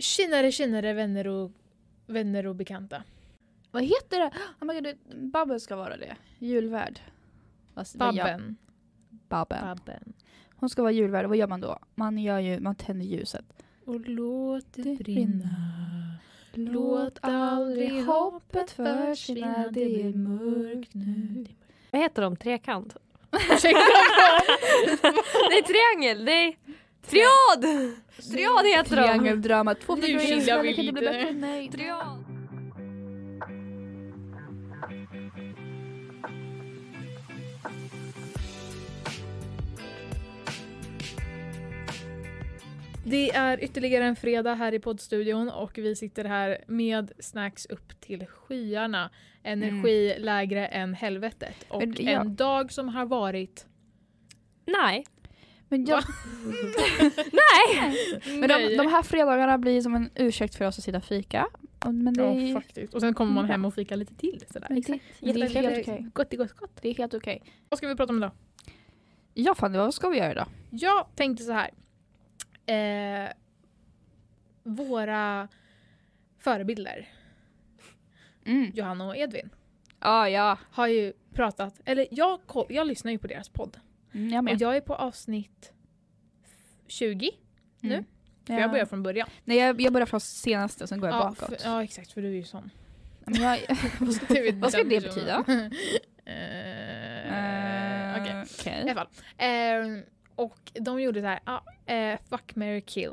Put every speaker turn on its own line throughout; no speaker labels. Tjenare tjenare vänner och, vänner och bekanta.
Vad heter det? Oh my God, det- Babben ska vara det. Julvärd. Vad- vad gör-
Babben.
Babben.
Babben.
Hon ska vara julvärd. och Vad gör man då? Man, gör ju, man tänder ljuset.
Och låt det
Det
brinna.
Låt aldrig hoppet försvinna, det är mörkt nu.
Vad heter de? Trekant?
Ursäkta.
Nej, triangel! Nej! Triad! Triad heter de!
Triangeldrama. Två
Nu
flickor i
chillar
Israel,
vi
kan det bli
lite.
bättre? Nej.
Triad!
Det är ytterligare en fredag här i poddstudion och vi sitter här med snacks upp till skyarna. Energi lägre än helvetet och
Mm. Men jag-
en dag som har varit
Nej.
Men, jag,
Nej!
men de, de här fredagarna blir som en ursäkt för oss att sitta och fika. Och- Men det,
Ja, faktiskt. Och sen kommer man
Ja.
hem och fikar lite till. Sådär.
men det, men det är helt okej.
Gott, gott, gott.
Det är helt okej.
Vad ska vi prata om idag?
Ja, Fanny, vad ska vi göra idag?
Jag tänkte så här. Eh, våra förebilder,
Mm.
Johanna och Edvin,
Ah, ja,
har ju pratat, eller jag, koll- jag lyssnar ju på deras podd.
mm, jag
Och
med.
jag är på avsnitt 20, nu.
Mm.
för jag börjar från början.
Nej, jag, jag börjar från senaste och sen går jag
ja,
bakåt.
för- ja exakt, för du är ju sån.
Men jag,
Vad ska det,
Vad ska det betyda?
eh, Okej.
Okej.
I alla fall. Eh, och de gjorde så här, ah, eh, fuck, marry, kill.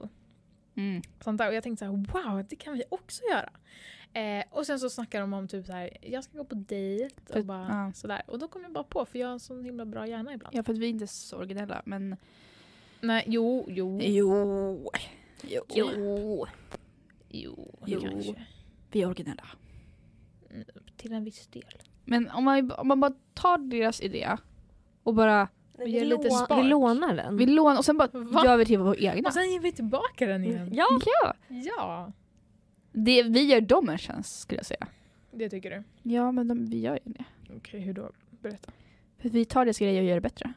Mm.
Sånt där. Och jag tänkte så här, wow, det kan vi också göra. Eh, och sen så snackar de om typ så här, jag ska gå på dejt och
För-
bara
ja.
sådär. Och då kom jag bara på, för jag har en sån himla bra hjärna ibland.
Ja, för att vi är inte så originella, men...
Nej, jo, jo,
Jo. Jo.
jo,
Jo.
kanske.
Vi är originella.
Till en viss del.
Men om man, om man bara tar deras idé och bara...
Vi gör lite
lå-
spark.
Vi lånar den.
Vi lånar och sen bara
Va?
gör vi till vår egna.
Och sen ger vi tillbaka den igen.
Mm. Ja!
Ja.
Mm. Ja,
Det, vi gör dem en tjänst skulle jag säga.
det tycker du.
Ja, men de, vi gör ju det.
Okej, hur då? Berätta.
För vi tar deras grejer och gör det bättre.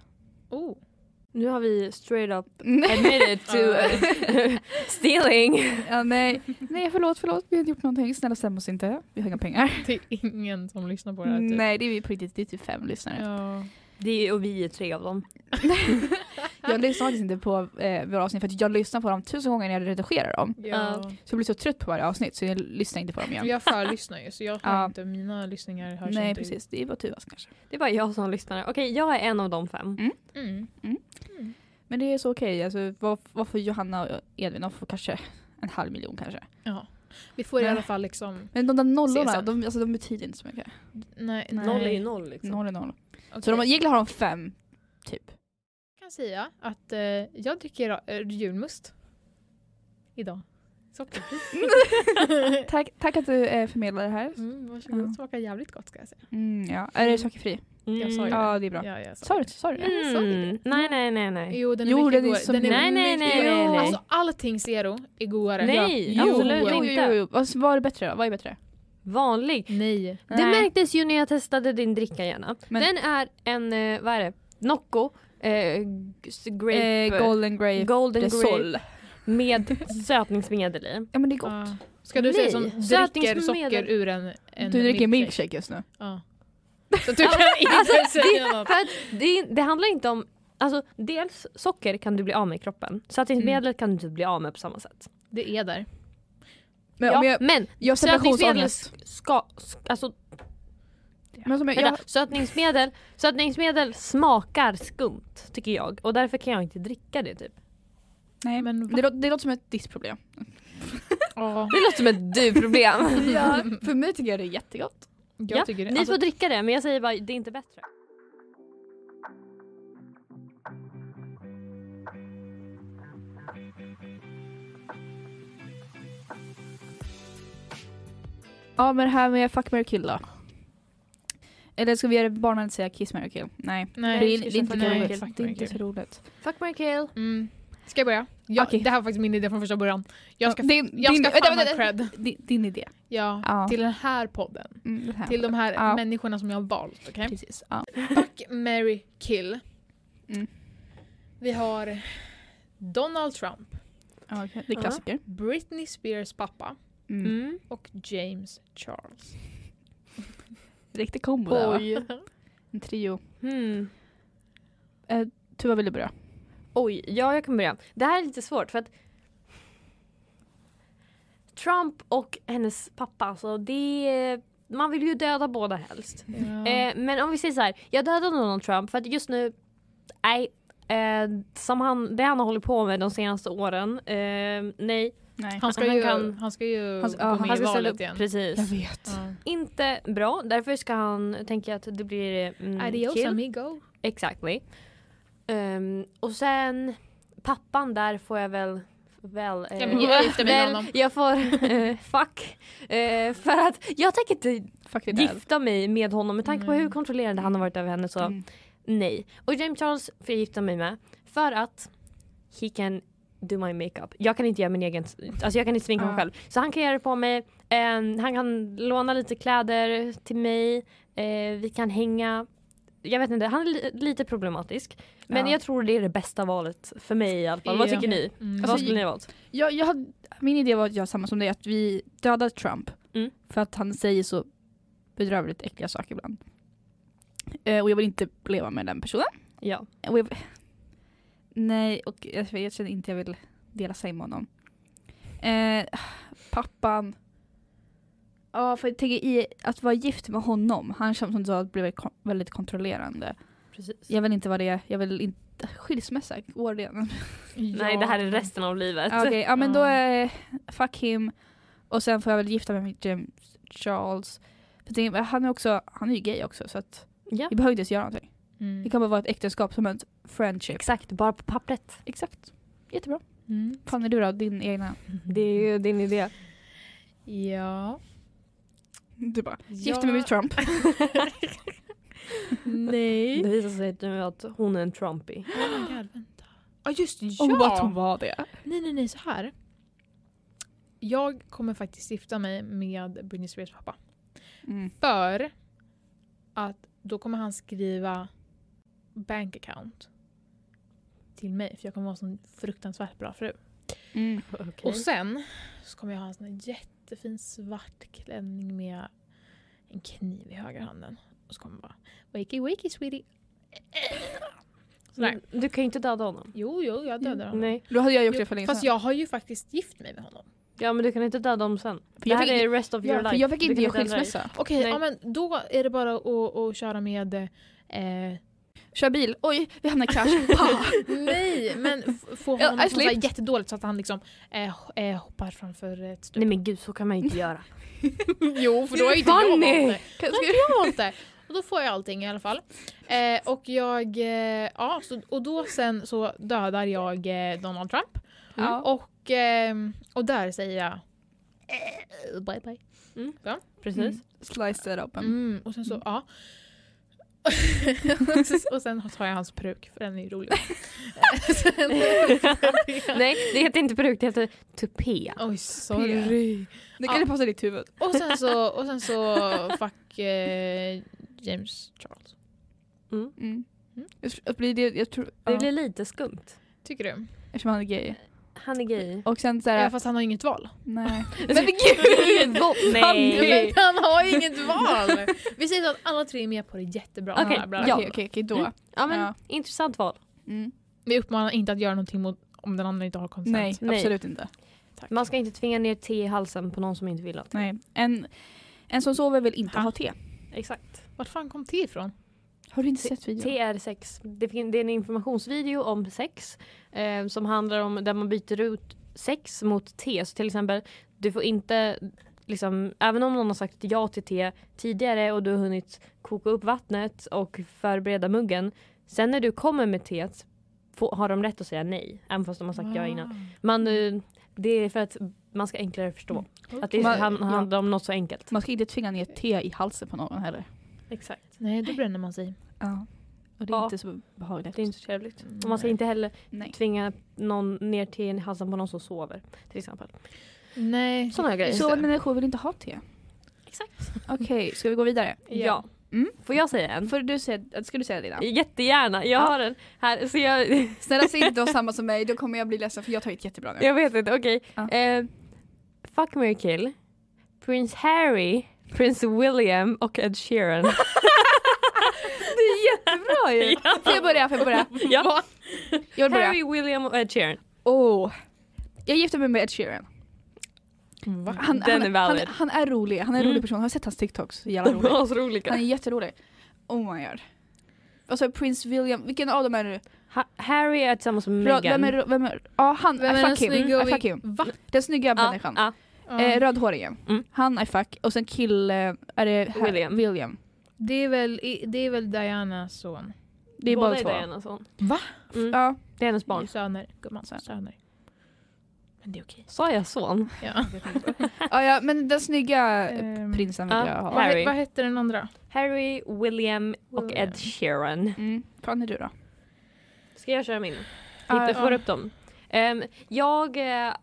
Oh.
Nu har vi straight up
Nej.
admitted
Ja.
to stealing.
ja, nej. nej, förlåt, förlåt. Vi har inte gjort någonting. Snälla stäm oss inte. Vi har inga pengar.
Det är ingen som lyssnar på det här. Typ.
nej, det är vi på riktigt. Det är typ fem lyssnare.
Ja.
Det är, och vi är tre av dem.
Jag lyssnar faktiskt inte på eh, våra avsnitt för att jag lyssnar på dem tusen gånger när jag redigerar dem.
Ja.
Så jag blir så trött på varje avsnitt så jag lyssnar inte på dem igen.
Jag förlyssnar ju så jag hör
Ja.
inte, mina lyssningar hörs
Nej
inte.
precis, det var Tuvas kanske.
Det är bara jag som lyssnar. Okej, jag är en av de fem.
Mm.
Men det är så okej, alltså, vad, vad får Johanna och Edvin? De får kanske en halv miljon kanske.
Ja. Vi får i
Nej.
alla fall liksom...
Men de där nollorna,
CSN.
de, alltså, de betyder inte så mycket.
Nej, nej.
Noll är ju noll liksom.
Noll är noll.
Okej.
Så de, egentligen har de fem, typ.
Jag kan säga att eh, jag dricker eh, julmust. Idag. Sockerfri.
Tack, tack att du eh, förmedlar det här.
mm, varsågod,
Ja.
smakar jävligt gott ska jag säga.
Mm, ja. Är det sockerfri?
Mm.
Jag sa ju
Ja, det är bra.
Ja, jag sa
Sa du
det.
sa du det?
Jag sa det.
Mm. Nej, nej, nej, nej.
Jo, den är
Jo,
mycket
den är
godare.
så-
Nej, nej, nej,
mycket-
nej, nej.
Alltså allting zero är godare.
Nej,
Ja.
absolut
jo,
inte.
Jo, jo. Vad vad är bättre då? Vad är bättre?
Vanlig.
Nej.
Det
Nej.
märktes ju när jag testade din dricka Jenna.
Men-
Den är en, eh, vad är det? Nocco. Eh, g- grape.
Eh, golden Grape
golden grape.
Sol.
Med sötningsmedel i.
Ja men det är gott.
Ja. Ska du säga som
Nej,
dricker socker
sötningsmedel.
ur en, en
du dricker Alltså, milkshake just nu.
Ja. Så du kan inte säga något.
För att det, det handlar inte om Alltså dels socker kan du bli av med i kroppen. Sötningsmedlet
Mm.
kan du inte bli av med på samma sätt.
Det är där.
Men
ja,
om jag,
men
jag har
sötningsmedel
separationsångest.
ska, sk- alltså,
Men som jag, jag,
vänta, sötningsmedel, sötningsmedel smakar skumt tycker jag. Och därför kan jag inte dricka det typ.
nej, men
Men
det, lå- det låter som ett ditt problem.
Ja,
Det låter som ett du-problem.
Ja, för mig tycker jag det är jättegott.
jag tycker det.
Ni
Alltså,
får dricka det men jag säger bara det är inte bättre.
Ja men det här med fuck, marry, kill då. Eller ska vi göra barnen säga kiss, marry, kill? Nej.
nej,
det, är,
vi ska
det är inte
säga
lika
fuck, marry,
roligt.
kill.
Det är inte så roligt.
Fuck my kill.
Mm. Ska jag börja? Jag,
Okej.
Det här var faktiskt min idé från första början. Jag ska,
din,
jag ska
vänta,
fan ha
vänta,
cred.
din, din idé.
Ja,
Ja.
Till den här podden.
Mm, det här.
Till de här
Ja.
människorna som jag har valt. Okej?
Precis. Ja.
Fuck, Mary kill.
Mm.
Vi har Donald Trump.
Ja, okej. Det är klassiker.
Britney Spears pappa
Mm.
Mm.
och James Charles.
Riktig kombo där va?
Oj.
En trio.
Mm.
Tuva vill du börja?
Oj, ja jag kan börja. Det här är lite svårt för att Trump och hennes pappa, alltså det... Man vill ju döda båda helst.
Ja.
Eh, men om vi säger så här, jag dödar Donald Trump för att just nu, nej. Eh, som han, det han har hållit på med de senaste åren, eh, nej.
Nej.
Han ska
han
ju,
kan-
han ska ju
Han ska- ja,
gå med
Han
i
ska ställa
valet
upp, Mm.
igen.
precis.
Jag vet.
Ja.
Inte bra, därför ska han, tänker jag att det blir mm,
Adios
kill.
amigo.
Exactly. Ehm, och sen pappan där får jag väl... väl eh,
Ja, men jag gifter mig med
väl,
honom.
Jag får... eh, fuck. Eh, för att jag tänker inte
Fuck det där.
gifta mig med honom med tanke på
Mm.
hur kontrollerande han har varit över henne så
Mm.
nej. Och James Charles får jag gifta mig med för att he can do my makeup. Jag kan inte göra min egen... Alltså jag kan inte sminka mig
Ah.
själv. Så han kan göra det på mig. ehm, han kan låna lite kläder till mig. Eh, vi kan hänga. Jag vet inte, han är li- lite problematisk. Men
Ja.
jag tror det är det bästa valet för mig i alla fall. Vad
Ja.
tycker ni?
Mm.
Alltså,
Vad skulle ni ha valt?
Jag, jag hade, min idé var att göra samma som dig, att vi dödar Trump.
Mm.
För att han säger så bedrövligt äckliga saker ibland. Eh, och jag vill inte leva med den personen.
Ja.
Och jag, nej, och jag, jag känner inte jag vill dela säng med honom. Eh, pappan. Ja, för jag tänker i att vara gift med honom. Han känns som du sa, blev kon- väldigt kontrollerande.
Precis.
Jag vill inte vara det. Jag vill inte... Skilsmässa, går det?
Mm.
Nej, det här är resten av livet.
Ja, Okej, ja men
Ja.
då är fuck him. Och sen får jag väl gifta mig med James Charles. För det- Han är, också, han är ju gay också så att
Ja.
vi behöver inte ens göra någonting. Det
Mm.
kan bara vara ett äktenskap som en friendship.
Exakt, bara på pappret.
Exakt. Jättebra.
Mm.
Fan är du då? Din egna?
Det är ju din idé.
Ja.
Du bara,
Ja.
gifta mig med Trump.
Nej.
Det visar sig nu att hon är en Trumpy.
Oh my god, vänta. Ja just det, ja!
Oh,
var det.
Nej nej nej, så här. Jag kommer faktiskt gifta mig med Britney Spears pappa.
Mm.
För att då kommer han skriva bank account till mig för jag kommer vara en sån fruktansvärt bra fru.
Mm.
Okej.
Och sen så kommer jag ha en sån här jättefin svart klänning med en kniv i högerhanden. Och så kommer jag bara wakey wakey sweetie. Sådär.
Du kan ju inte döda honom.
Jo jo, jag dödar honom.
Nej.
Då hade jag gjort
Jo,
Mm, det för länge
Fast jag har ju faktiskt gift mig med honom.
Ja men du kan inte döda dem sen.
För
det
jag
här
fick,
är rest of your
ja,
life.
för jag fick
Du
inte
kan
göra
döda dig.
skilsmässa.
Okej,
Nej.
ja, men då är det bara att, att köra med... Eh,
Kör bil. Oj, vi hamnar i krasch.
Ah.
Pa!
nej, men f- få
Ja,
honom
I
att må så här
slipped.
jättedåligt så att han liksom eh, ho- eh, hoppar framför ett
typ.
stup.
Nej men gud så kan man ju inte göra.
jo, för då är ju inte jag valt
Fanny!
det. Då har inte jag valt det. Och då får jag allting i alla fall. Eh, och jag... Eh, ja, så, och då sen så dödar jag eh, Donald Trump.
Ja.
Och, ehm, och där säger jag... Eh, bye bye.
Precis.
Mm. Slice it open.
Mm, och sen så, ja. och sen tar jag hans peruk för den är ju rolig. sen,
Nej det heter inte peruk, det heter tupé.
Oj, sorry.
Det kan
Ja.
ju passa ditt huvud.
Och sen så, och sen så fuck eh, James Charles.
Mm.
Mm.
Jag, blir det, jag tror,
Det
ja,
blir lite skumt.
Tycker du?
Äh.
eftersom han är gay.
Han är gay.
Och sen så
Ja,
här,
fast han har inget val.
nej.
Men gud! Nej!
Men han har inget val! Vi säger så att alla tre är med på det jättebra.
Okej,
Bla, bla, bla.
Ja.
Ja.
Okej, okej, okej, då.
Mm. Ja men
Ja.
intressant val.
Mm.
Vi uppmanar inte att göra någonting mot, om den andra inte har konsent.
Nej,
Nej.
absolut inte.
Man ska inte tvinga ner te i halsen på någon som inte vill ha te.
Nej. En, en som sover vill inte
Ha.
ha, te.
Exakt.
Vart fan kom det ifrån?
Har du inte sett videon?
Te är sex. Det, fin- det är en informationsvideo om sex eh, som handlar om där man byter ut sex mot te. Så till exempel, du får inte, liksom, även om någon har sagt ja till te tidigare och du har hunnit koka upp vattnet och förbereda muggen. Sen när du kommer med teet får, har de rätt att säga nej, även fast de har sagt ja innan. Man, eh, det är för att man ska enklare förstå. Att det
Man-
han- handlar om något så enkelt.
Man ska inte tvinga ner te i halsen på någon heller.
Exakt.
Nej, då bränner man sig.
Ja. Och det är
Ja.
inte så behagligt.
Det är inte så trevligt. Och man ska inte heller
Nej.
tvinga någon ner till en halsen på någon som sover till exempel.
Nej.
Såna grejer.
Så,
Sovande människor vill inte ha te.
Exakt.
Okej, ska vi gå vidare?
Ja.
Mm. Mm.
Får jag säga en?
Får du säga, ska du säga dina?
Jättegärna, jag
Ja.
har en här. Så jag,
Snälla säg inte de samma som mig, då kommer jag bli ledsen för jag tar ett jättebra nu.
jag vet inte, okej.
Ja.
Eh, fuck, marry, kill. Prins Harry, prins William och Ed Sheeran.
Det är jättebra ju!
Ja.
Får jag börja? Får jag börja?
ja.
Jag vill börja.
Harry, William och Ed Sheeran.
Oh. Jag gifte mig med Ed Sheeran.
Va?
Mm, Han,
Den
han,
är valid.
han, han är rolig, han är en
Mm.
rolig person. Har du sett hans TikToks? Så Jävla
De
rolig.
var asroliga.
Han är jätterolig. Oh my god. Och så Prince William, vilken av dem är du?
Ha- Harry är tillsammans med
Röd-
Meghan.
Vem är, vem är, ja han,
Vem
I
är den
fuck him.
snygga
I
och
fuck
vi-
him.
Va?
Den snygga
Ja,
människan.
ja.
Eh, rödhårigen.
Mm.
Han är fuck. Och sen kille, är det här-
William.
William.
Det är väl, det är väl Dianas son.
Det är
Båda
bara två.
Dianas son.
Va?
Mm.
Ja.
Det är hennes
Det är
barn.
ju söner, gumman.
Söner.
Söner. Men det är okej.
Sa jag son?
Ja.
Ja, ja, men den snygga
Ehm,
prinsen vill
ja.
jag
vad,
ha.
he-
Harry.
vad hette den andra?
Harry, William och
William.
Ed Sheeran.
Mm. Fan är du då?
Ska jag köra min?
Ja,
Hitta, får
ja.
upp dem. Ehm, jag... eh,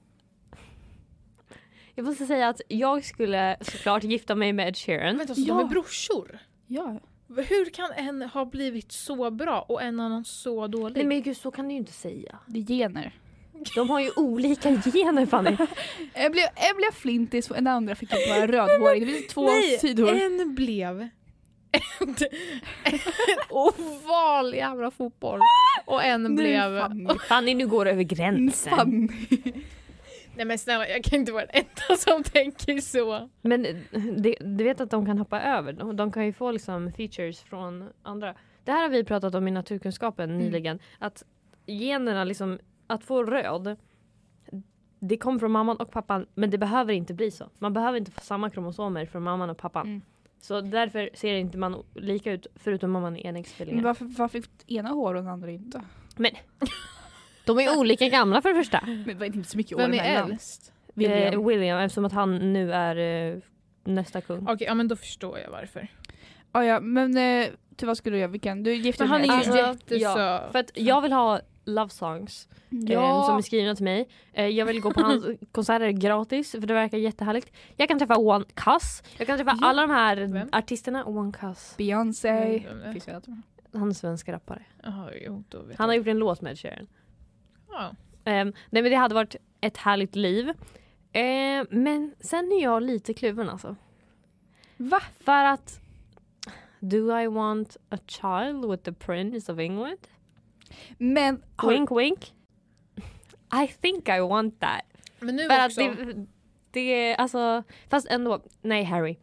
jag måste säga att jag skulle såklart gifta mig med Ed Sheeran.
Vänta, så
Ja.
de är brorsor?
Ja.
Hur kan en ha blivit så bra och en annan så dålig?
Nej men gud så kan du ju inte säga.
Det är gener.
De har ju olika gener Fanny.
Jag blev, jag blev flintis och den andra fick jag vara rödhårig. Det finns två
Nej, eh,
sidor.
en blev en, en oval jävla fotboll och en
Nu
blev...
Fanny.
Fanny nu går du över gränsen.
Fanny.
Nej men snälla, jag kan inte vara den enda som tänker så.
Men eh, det, du vet att de kan hoppa över. De, de kan ju få liksom features från andra. Det här har vi pratat om i naturkunskapen nyligen. Att generna liksom, att få röd. Det kom från mamman och pappan men det behöver inte bli så. Man behöver inte få samma kromosomer från mamman och pappan.
Mm.
Så därför ser inte man lika ut förutom om man är enäggstvillingar.
Men varför, varför fick ena hår och den andra inte?
De är olika gamla för det första.
Men det var inte så mycket år
Vem är
emellan.
äldst?
William.
Eh, William eftersom att han nu är eh, nästa kung.
Okej, ja men då förstår jag varför.
Ja, ja, men eh, till vad skulle du göra? Vilken? Du gifte
För
dig
han är ju
med
Alltså,
jättesöt.
ja. För att jag vill ha love songs.
Ah,
eh, som är skrivna till mig. Eh, jag vill gå på hans konserter gratis för det verkar jättehärligt. Jag kan träffa One Cuss, jag kan träffa
Ja.
alla de här
Vem?
artisterna. One Cuss,
Beyoncé.
Mm, vem är-
Finns det andra?
han är svensk rappare.
Jaha, jo, då vet
Han har
jag.
gjort en låt med Sharon.
Ja.
Eh, nej men det hade varit ett härligt liv. Eh, men sen är jag lite kluven alltså.
Va?
För att Do I want a child with the prince of England?
Men har,
Wink wink. I think I want that.
Men nu
För att
också.
det, det är alltså, fast ändå, nej Harry.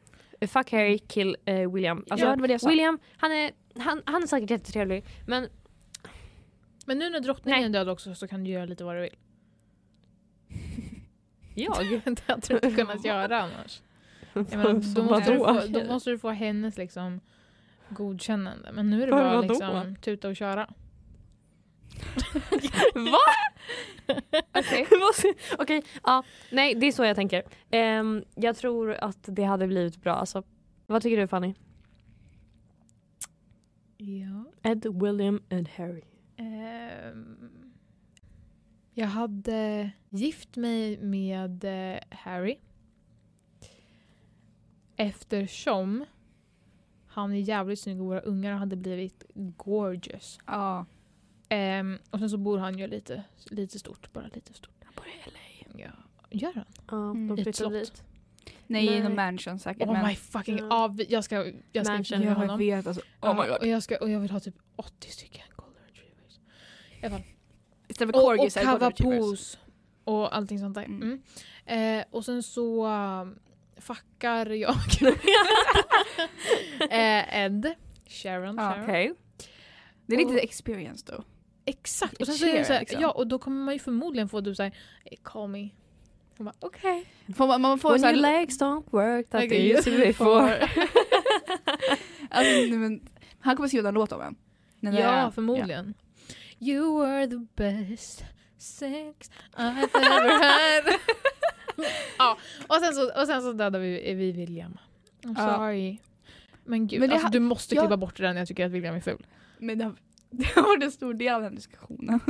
Fuck Harry, kill eh, William. Alltså,
ja, det var det jag sa.
William, han är, han, han är säkert jättetrevlig men
Men nu när drottningen är död också så kan du göra lite vad du vill.
jag?
Det hade du inte kunnat göra annars. Jag
Så
menar, då, måste du
vadå?
få, då måste du få hennes liksom, godkännande. Men nu är det
För
bara
vadå?
liksom, tuta och köra.
Va?
Okej.
Måste- Okej, ja, nej det är så jag tänker. Ehm, jag tror att det hade blivit bra alltså. Vad tycker du Fanny?
Ja.
Ed, William and Harry.
Ehm, jag hade gift mig med eh, Harry. Eftersom han är jävligt snygg och våra ungar hade blivit gorgeous.
Ja.
Ehm, och sen så bor han ju lite, lite stort, bara lite stort.
Han bor i LA.
Ja. Gör han?
Ja,
Mm.
de
I ett
flyttade
slott.
dit.
Nej,
Nej.
i någon mansion säkert.
Oh
men,
my fucking...
Ja.
Ja. vi- jag ska, jag ska
Mansion.
intervjua
Ja, jag
honom.
vet alltså. Oh my
Ja,
god.
och, jag ska, och jag vill ha typ 80 stycken golden retrievers.
Istället för
Och,
corgis
och
är det golden retrievers.
kavapos. Och allting sånt där. Mm.
Mm.
Eh, och sen så eh, fuckar jag eh, Ed. Sharon.
Ja.
Sharon.
Okej.
Det är lite
och-
experience då.
Exakt. Och sen så är det
Cheer,
så här,
liksom.
ja och då kommer man ju förmodligen få typ du såhär, "Eh, call me. Hon bara okej.
Får man, man får så här,
legs don't work that
Like it
Typ
used to be before.
alltså, nej, men, han kommer skriva en låt om en. Den
Ja
där-
förmodligen. You were the best sex I've ever had. ja, och sen så, och sen så dödade vi, vi William. I'm
Ja.
sorry. Men gud,
Men det
alltså,
ha-
du måste
jag-
klippa bort det där när jag tycker att William är ful.
Men det, har- det har varit en stor del av den diskussionen.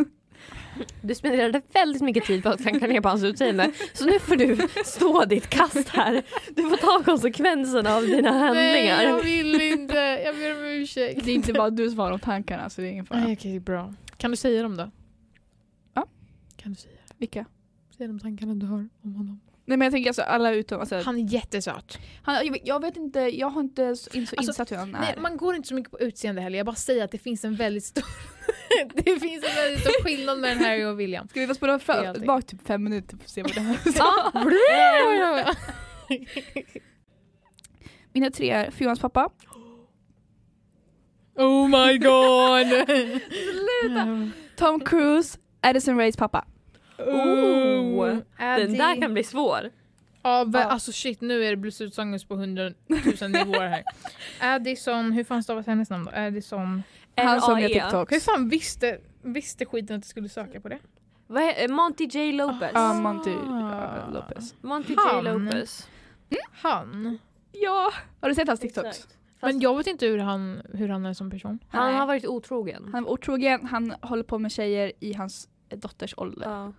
Du spenderade väldigt mycket tid på att klanka ner på hans utseende. Så nu får du stå ditt kast här. Du får ta konsekvenserna av dina
Nej, jag
handlingar.
vill inte. Jag ber om ursäkt.
Det är inte bara du som har de tankarna så det är ingen fara.
Nej, okej, bra. Kan du säga dem då?
Ja.
Kan du säga,
Vilka?
säga de tankarna du har om honom?
Nej men jag tänker alltså alla utom, alltså,
Han är jättesöt.
han, jag vet- jag vet inte, jag har inte så, in, så
Alltså,
insatt hur han är.
Nej, man går inte så mycket på utseende heller. Jag bara säger att det finns en väldigt stor, det finns en väldigt stor skillnad mellan Harry och William.
Ska vi få spola
Det är
fram-
allting.
bak typ fem minuter för att se vad det här
Ja.
Mina tre är Fions pappa.
oh my god!
Tom Cruise, Addison Rays pappa.
Oh. Den där kan bli svår.
Ja,
Ja.
ja. Alltså shit, nu är det bluesutsanger på 100 000 nivåer här. Addison, hur fan stavas hennes namn då? Addison.
Han som gör
RAE.
Hur
TikToks.
fan visste, visste skiten att jag skulle söka på det?
Vad är, eh, Monty J Lopez.
Ja, Monty ja, Lopez.
Monty J
han.
Lopez.
Han?
Ja! Har du sett hans TikToks?
Exakt. Fast-
Men jag vet inte hur han, hur han är som person.
Han
Nej.
har varit otrogen.
Mm. Han var otrogen, han håller på med tjejer i hans dotters ålder.
Ja.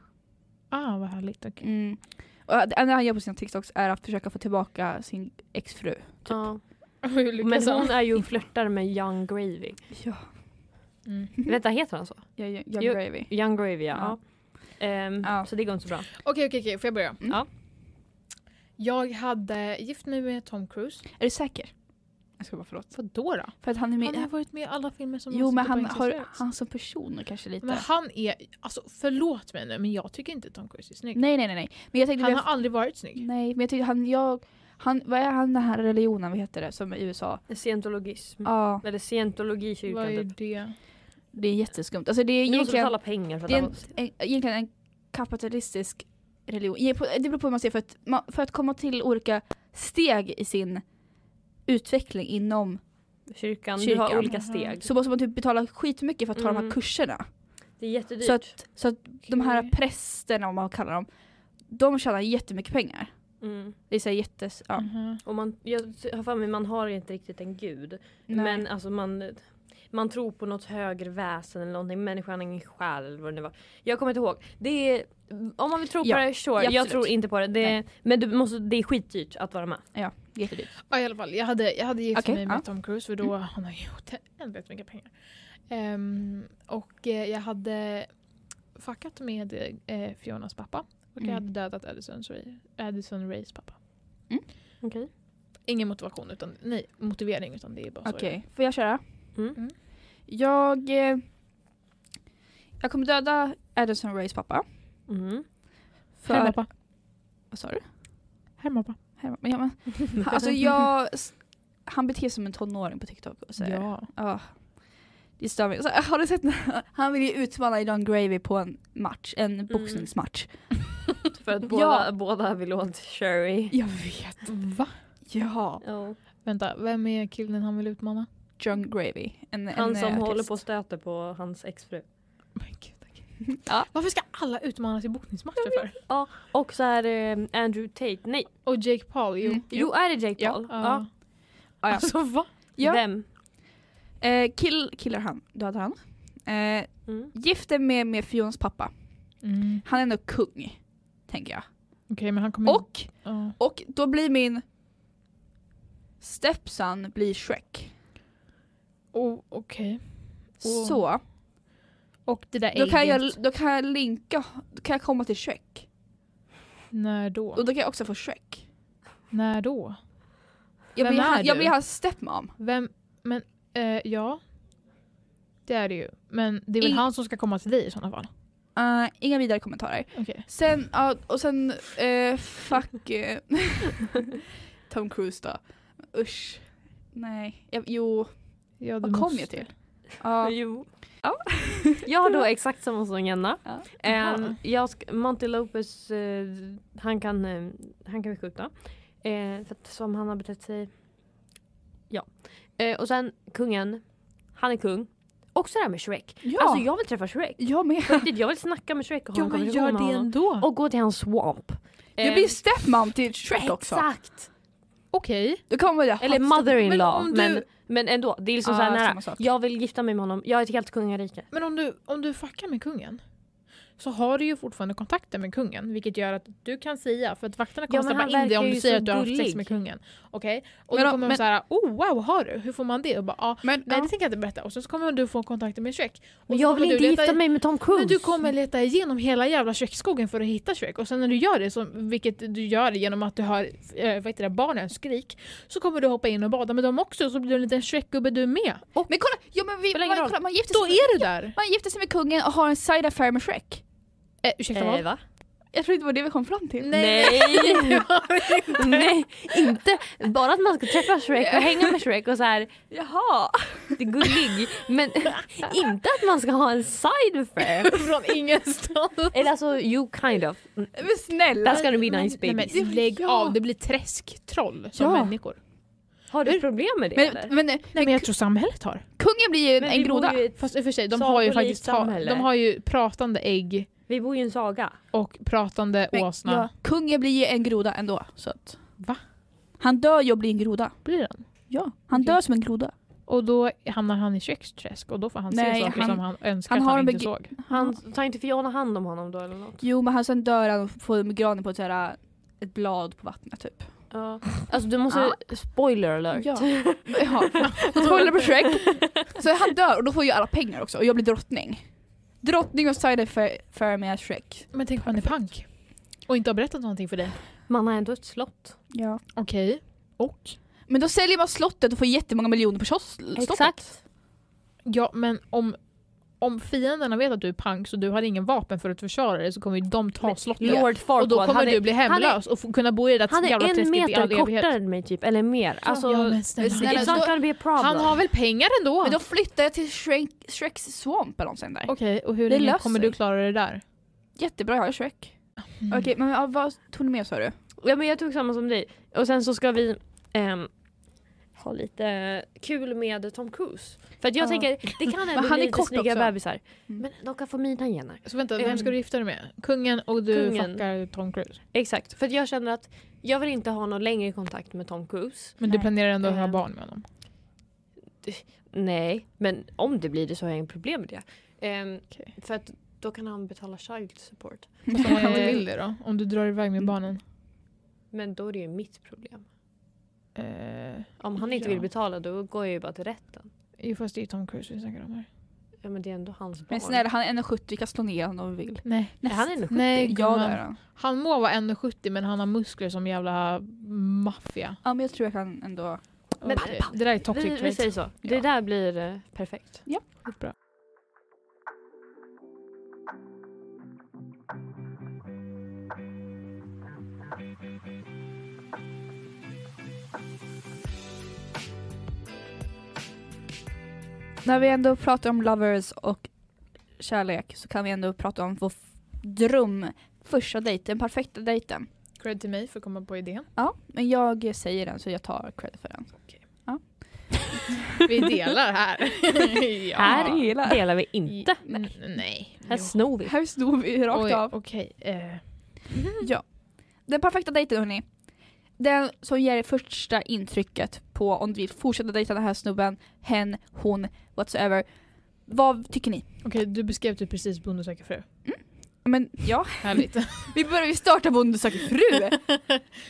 Ah, vad härligt. okej.
Mm. Och det enda han gör på sina TikToks är att försöka få tillbaka sin exfru.
Ja.
Hur
Men
typ. lyckas han?
hon är ju och flörtar med Young Gravy.
Ja,
Mm.
Vänta, heter han så?
jag, jag, jag mm.
Jo.
gravy.
Young Gravy, ja.
Ja.
Ehm,
Ja.
Så det går inte så bra.
Okej, okej, okej, får jag börja?
Mm.
Ja.
Jag hade gift mig med Tom Cruise.
Är du säker? Jag ska bara förlåt.
Vadå då?
För att han är med...
Han har varit med i alla filmer som
jo
har
men
suttit på
han, har,
Instagram.
han som person och kanske lite...
Men han är, alltså förlåt mig nu men jag tycker inte Tom Cruise är snygg.
Nej nej nej nej. Men jag tänkte...
han har aldrig varit snygg.
Nej men jag tyckte han, jag... Han, vad är han den här religionen, vad heter det, som är i USA?
Scientologism.
Ja,
Eller scientologikyrkan
Vad är
typ.
det?
det är jätteskumt. Alltså det är
Vi måste
egentligen...
betala pengar för att
Det är
han
en, en, egentligen en kapitalistisk religion. Ge- på- Det beror på hur man ser för att, man, för att komma till olika steg i sin utveckling inom
kyrkan,
Kyrkan.
har olika
Mhm.
steg.
så måste man typ betala skitmycket för att ta de
Mm.
här kurserna.
Det är jättedyrt.
Så att, så att de här
Okej.
prästerna, om man kallar dem, de tjänar jättemycket pengar.
mm.
Det är så här jättes... Ja.
Mhm.
och man, jag har för mig man har inte riktigt en gud.
Nej.
Men alltså man, man tror på något högre väsen eller någonting. Människan har ingen själ eller vad det nu var. Jag kommer inte ihåg. Det är, om man vill tro
Ja,
på det, sure. Jag
absolut.
tror inte på det. det är, men du måste, det är skitdyrt att vara med.
Jättedyrt.
Ja, i alla fall, jag hade, jag hade gift
Okej,
mig med
ja.
Tom
Mm.
Cruise för då han har gjort väldigt mycket pengar. Ehm, och eh, jag hade fuckat med eh, Fionas pappa. Och
Mm.
jag hade dödat Addison, Ray, Addison Rays pappa.
Mm.
Okej.
Ingen motivation utan, nej, motivering utan det är bara så.
Okej, får jag köra?
Mm.
Mm.
Jag... eh, Jag kommer döda Addison Rays pappa.
Mm.
För... Herr
För...
pappa.
Vad sa du?
Herr pappa.
Här, men jag, men, alltså jag, han beter sig som en tonåring på TikTok. Och så här.
Ja.
Ja. Det stör mig. Så, har du sett när- han vill ju utmana John Gravy på en match,
Mm.
en boxningsmatch.
För att
Ja.
båda, båda vill åt Sherry.
Jag vet.
Va?
Ja.
Ja.
Vänta, vem är killen han vill utmana?
John Gravy. En,
Han
en,
som
eh, artist.
håller på och stöter på hans exfru.
Oh
Men gud, okej.
Ja.
Varför ska alla utmanas i boxningsmatcher för?
Och så är det eh, Andrew Tate. Nej,
Och Jake Paul, jo.
Mm.
jo är det Jake
Ja.
Paul?
Ja.
Ja, ja.
Alltså va?
Ja.
Vem?
Eh, kill, killar han, dödar han. Eh,
Mm.
gifter med, med Fions pappa.
Mm.
Han är ändå kung, tänker jag.
Okej men han
Mm.
kommer...
Och,
Ja.
och då blir min stepson blir Shrek.
Oh, Okej. Och-
Så.
Och det där
Då kan,
ägget,
jag, då kan jag linka, då kan jag komma till Shrek.
när då?
Och då kan jag också få Shrek.
När då?
Jag
Vem
blir,
är
han, jag
du?
blir hans stepmom.
Vem? Men, eh, ja. Det är det ju. Men det är väl
Ing-
han som ska komma till dig i sådana fall?
Eh, inga vidare kommentarer.
Okej.
Sen, ja, och sen, eh, fuck eh, Tom Cruise då. Usch. Nej, jag, jo,
Ja, du
vad kom
måste.
jag till? Ja,
Jo.
Ja.
jag har då exakt samma som Jenna.
Ja.
Ehm,
Jaha.
jag sk- Monty Lopez, eh, han, kan, eh, han kan vi skjuta. Eh, för att som han har betett sig. Ja. Eh, och sen kungen. Han är kung. Också det här med Shrek.
ja,
Alltså jag vill träffa Shrek.
jag med.
På riktigt, Jag vill snacka med Shrek och ha
Ja
en
men
konversation
gör
med
det
honom.
ändå.
Och gå till hans swamp.
Jag
Ehm,
blir stepmom till Shrek också.
Exakt!
Okej.
Då kommer jag
Eller
Men
mother-in-law.
om
Men,
du-
men, ändå, det är liksom
Ja,
så här nära.
samma sak.
Jag vill gifta mig med honom. Jag är ett helt kungarike.
Men om du, om du fuckar med kungen, så har du ju fortfarande kontakter med kungen. Vilket gör att du kan säga, för att vakterna
Ja,
kommer
men
stoppa
han
in dig
verkar
om
ju
du säger
så
att du har haft sex
gullig.
med kungen. Okej? Och
Men
då
då-
kommer
men-
de såhär, oh wow, har du? Hur får man det? Och bara, ah,
Men,
nej
ja.
det tänker jag inte berätta. Och sen så kommer du få kontakter med Shrek. Och
Men
så
jag
kommer
vill
du
inte
leta-
gifta mig med Tom Cruise.
men du kommer leta igenom hela jävla Shrek-skogen för att hitta Shrek och sen när du gör det, så, vilket du gör genom att du har äh, vad heter det, barnens skrik, så kommer du hoppa in och bada med dem också så blir du en liten Shrek-gubbe du med.
men kolla, ja, men vi,
Spelar ingen
man,
roll.
kolla, man, gifter
Då
sig med,
är du där!
man gifter sig med kungen och har en side affair med Shrek.
Eh, ursäkta vad?
Eh, va?
Jag tror inte det var det vi kom fram till.
Nej. Nej, inte. Bara att man ska träffa Shrek och hänga med Shrek och så här,
Jaha!
det är gullig. Men inte att man ska ha en side affair.
Från ingenstans.
Eller alltså, you kind of.
Men snälla!
Där ska du bli nice
Nej, men
baby.
lägg
Ja.
av, det blir träsktroll som
Ja.
människor.
Har du problem med det
Men,
eller?
men, eh,
Nej men jag tror samhället har.
kungen blir ju en,
Men vi
en
bor
groda.
ju i ett-
Fast i och för sig, de har ju
Sagolikt
faktiskt ta-
samhälle.
de har ju pratande ägg
Vi bor ju i en saga.
och pratande
Men,
åsna.
ja, kungen blir ju en groda ändå. Så att.
Va?
Han dör ju och blir en groda.
Blir den?
Ja, han
Okej.
dör som en groda.
Och då hamnar han i köksträsk och då får han
Nej,
se saker
han-
som han önskar
han
att
har
han
en
inte
begi-
såg.
Han, tar inte Fiona hand om honom då eller något?
Jo men han sen dör han och får granen på ett, så här, eh, ett blad på vattnet typ.
Ja. Alltså du måste, spoiler alert.
Ja. Jaha. Spoiler på Shrek. Så han dör och då får jag alla pengar också och jag blir drottning. Drottning och side affair affair med Shrek.
Men tänk om han är pank. Och inte har berättat någonting för dig.
Man har ändå ett slott.
Ja.
Okej. Och?
Men då säljer man slottet och får jättemånga miljoner på kios- slottet.
Exakt.
Ja, men om, om fienderna vet att du är pank så du har ingen vapen för att försvara dig så kommer ju de ta
Men
slottet.
Lord
och då
Farquaad,
kommer
han
du
är,
bli hemlös och få- kunna bo i det
han
där jävla
är en
träsket i all
meter
evighet.
kortare än mig typ, eller mer. Alltså,
ja, men snälla.
snälla,
it's not gonna be a problem.
Han har väl pengar ändå?
Men då flyttar jag till Shrek, Shreks swamp eller något sånt där.
Okej, och hur
Det
länge
löser
kommer
sig.
du klara det där?
Jättebra, jag har Shrek.
Mm.
Okej, men ja, vad tog ni med sa du?
Ja men jag tog samma som dig. Och sen så ska vi ehm, ha lite kul med Tom Cruise. För att jag
Ja.
tänker, det kan ändå
han
bli
är
lite
kort
snygga
också.
bebisar.
Mm.
Men de kan få mina gener.
Så vänta,
Ehm.
vem ska du gifta dig med? Kungen och du
Kungen.
fuckar Tom Cruise?
Exakt, för att jag känner att jag vill inte ha någon längre kontakt med Tom Cruise.
Men
Nej.
du planerar ändå att ha
Ehm.
barn med honom?
Nej, men om det blir det så har jag inget problem med det. Ehm,
Okej.
För att då kan han betala child support.
Fast om han inte vill det då? Om du drar iväg med barnen?
Men då är det ju mitt problem.
Eh,
Om han inte
Ja.
vill betala då går jag ju bara till rätten.
Jo fast det är ju Tom Cruise vi snackar om här.
Ja men det är ändå hans barn.
Men snälla, han är 1,70, vi kan slå ner honom om vi vill.
Nej.
Nej, han är nog
Nej
Jag
gumman.
dör han.
Han må vara 1,70 men han har muskler som jävla maffia.
Ja, men jag tror jag kan ändå...
Men-
Okej, Det där är toxic
vi, vi
trait.
säger så. Det
Ja.
där blir eh, perfekt.
Bra.
När vi ändå pratar om lovers och kärlek så kan vi ändå prata om vår f- dröm, första dejten, perfekta dejten.
Cred till mig för att komma på idén.
Ja, men jag säger den så jag tar cred för den.
Vi delar här. ja.
Här
gillar.
delar vi inte.
Mm, Nej.
Här snor vi.
Här står vi rakt
Oj,
av.
Okej. eh,
Den perfekta dejten hörni. Den som ger det första intrycket på om du vill fortsätta dejta den här snubben, hen, hon, whatsoever. Vad tycker ni?
Okej, du beskrev typ precis Bonde söker fru.
Men ja,
Härligt.
vi börjar ju starta Bonde söker fru.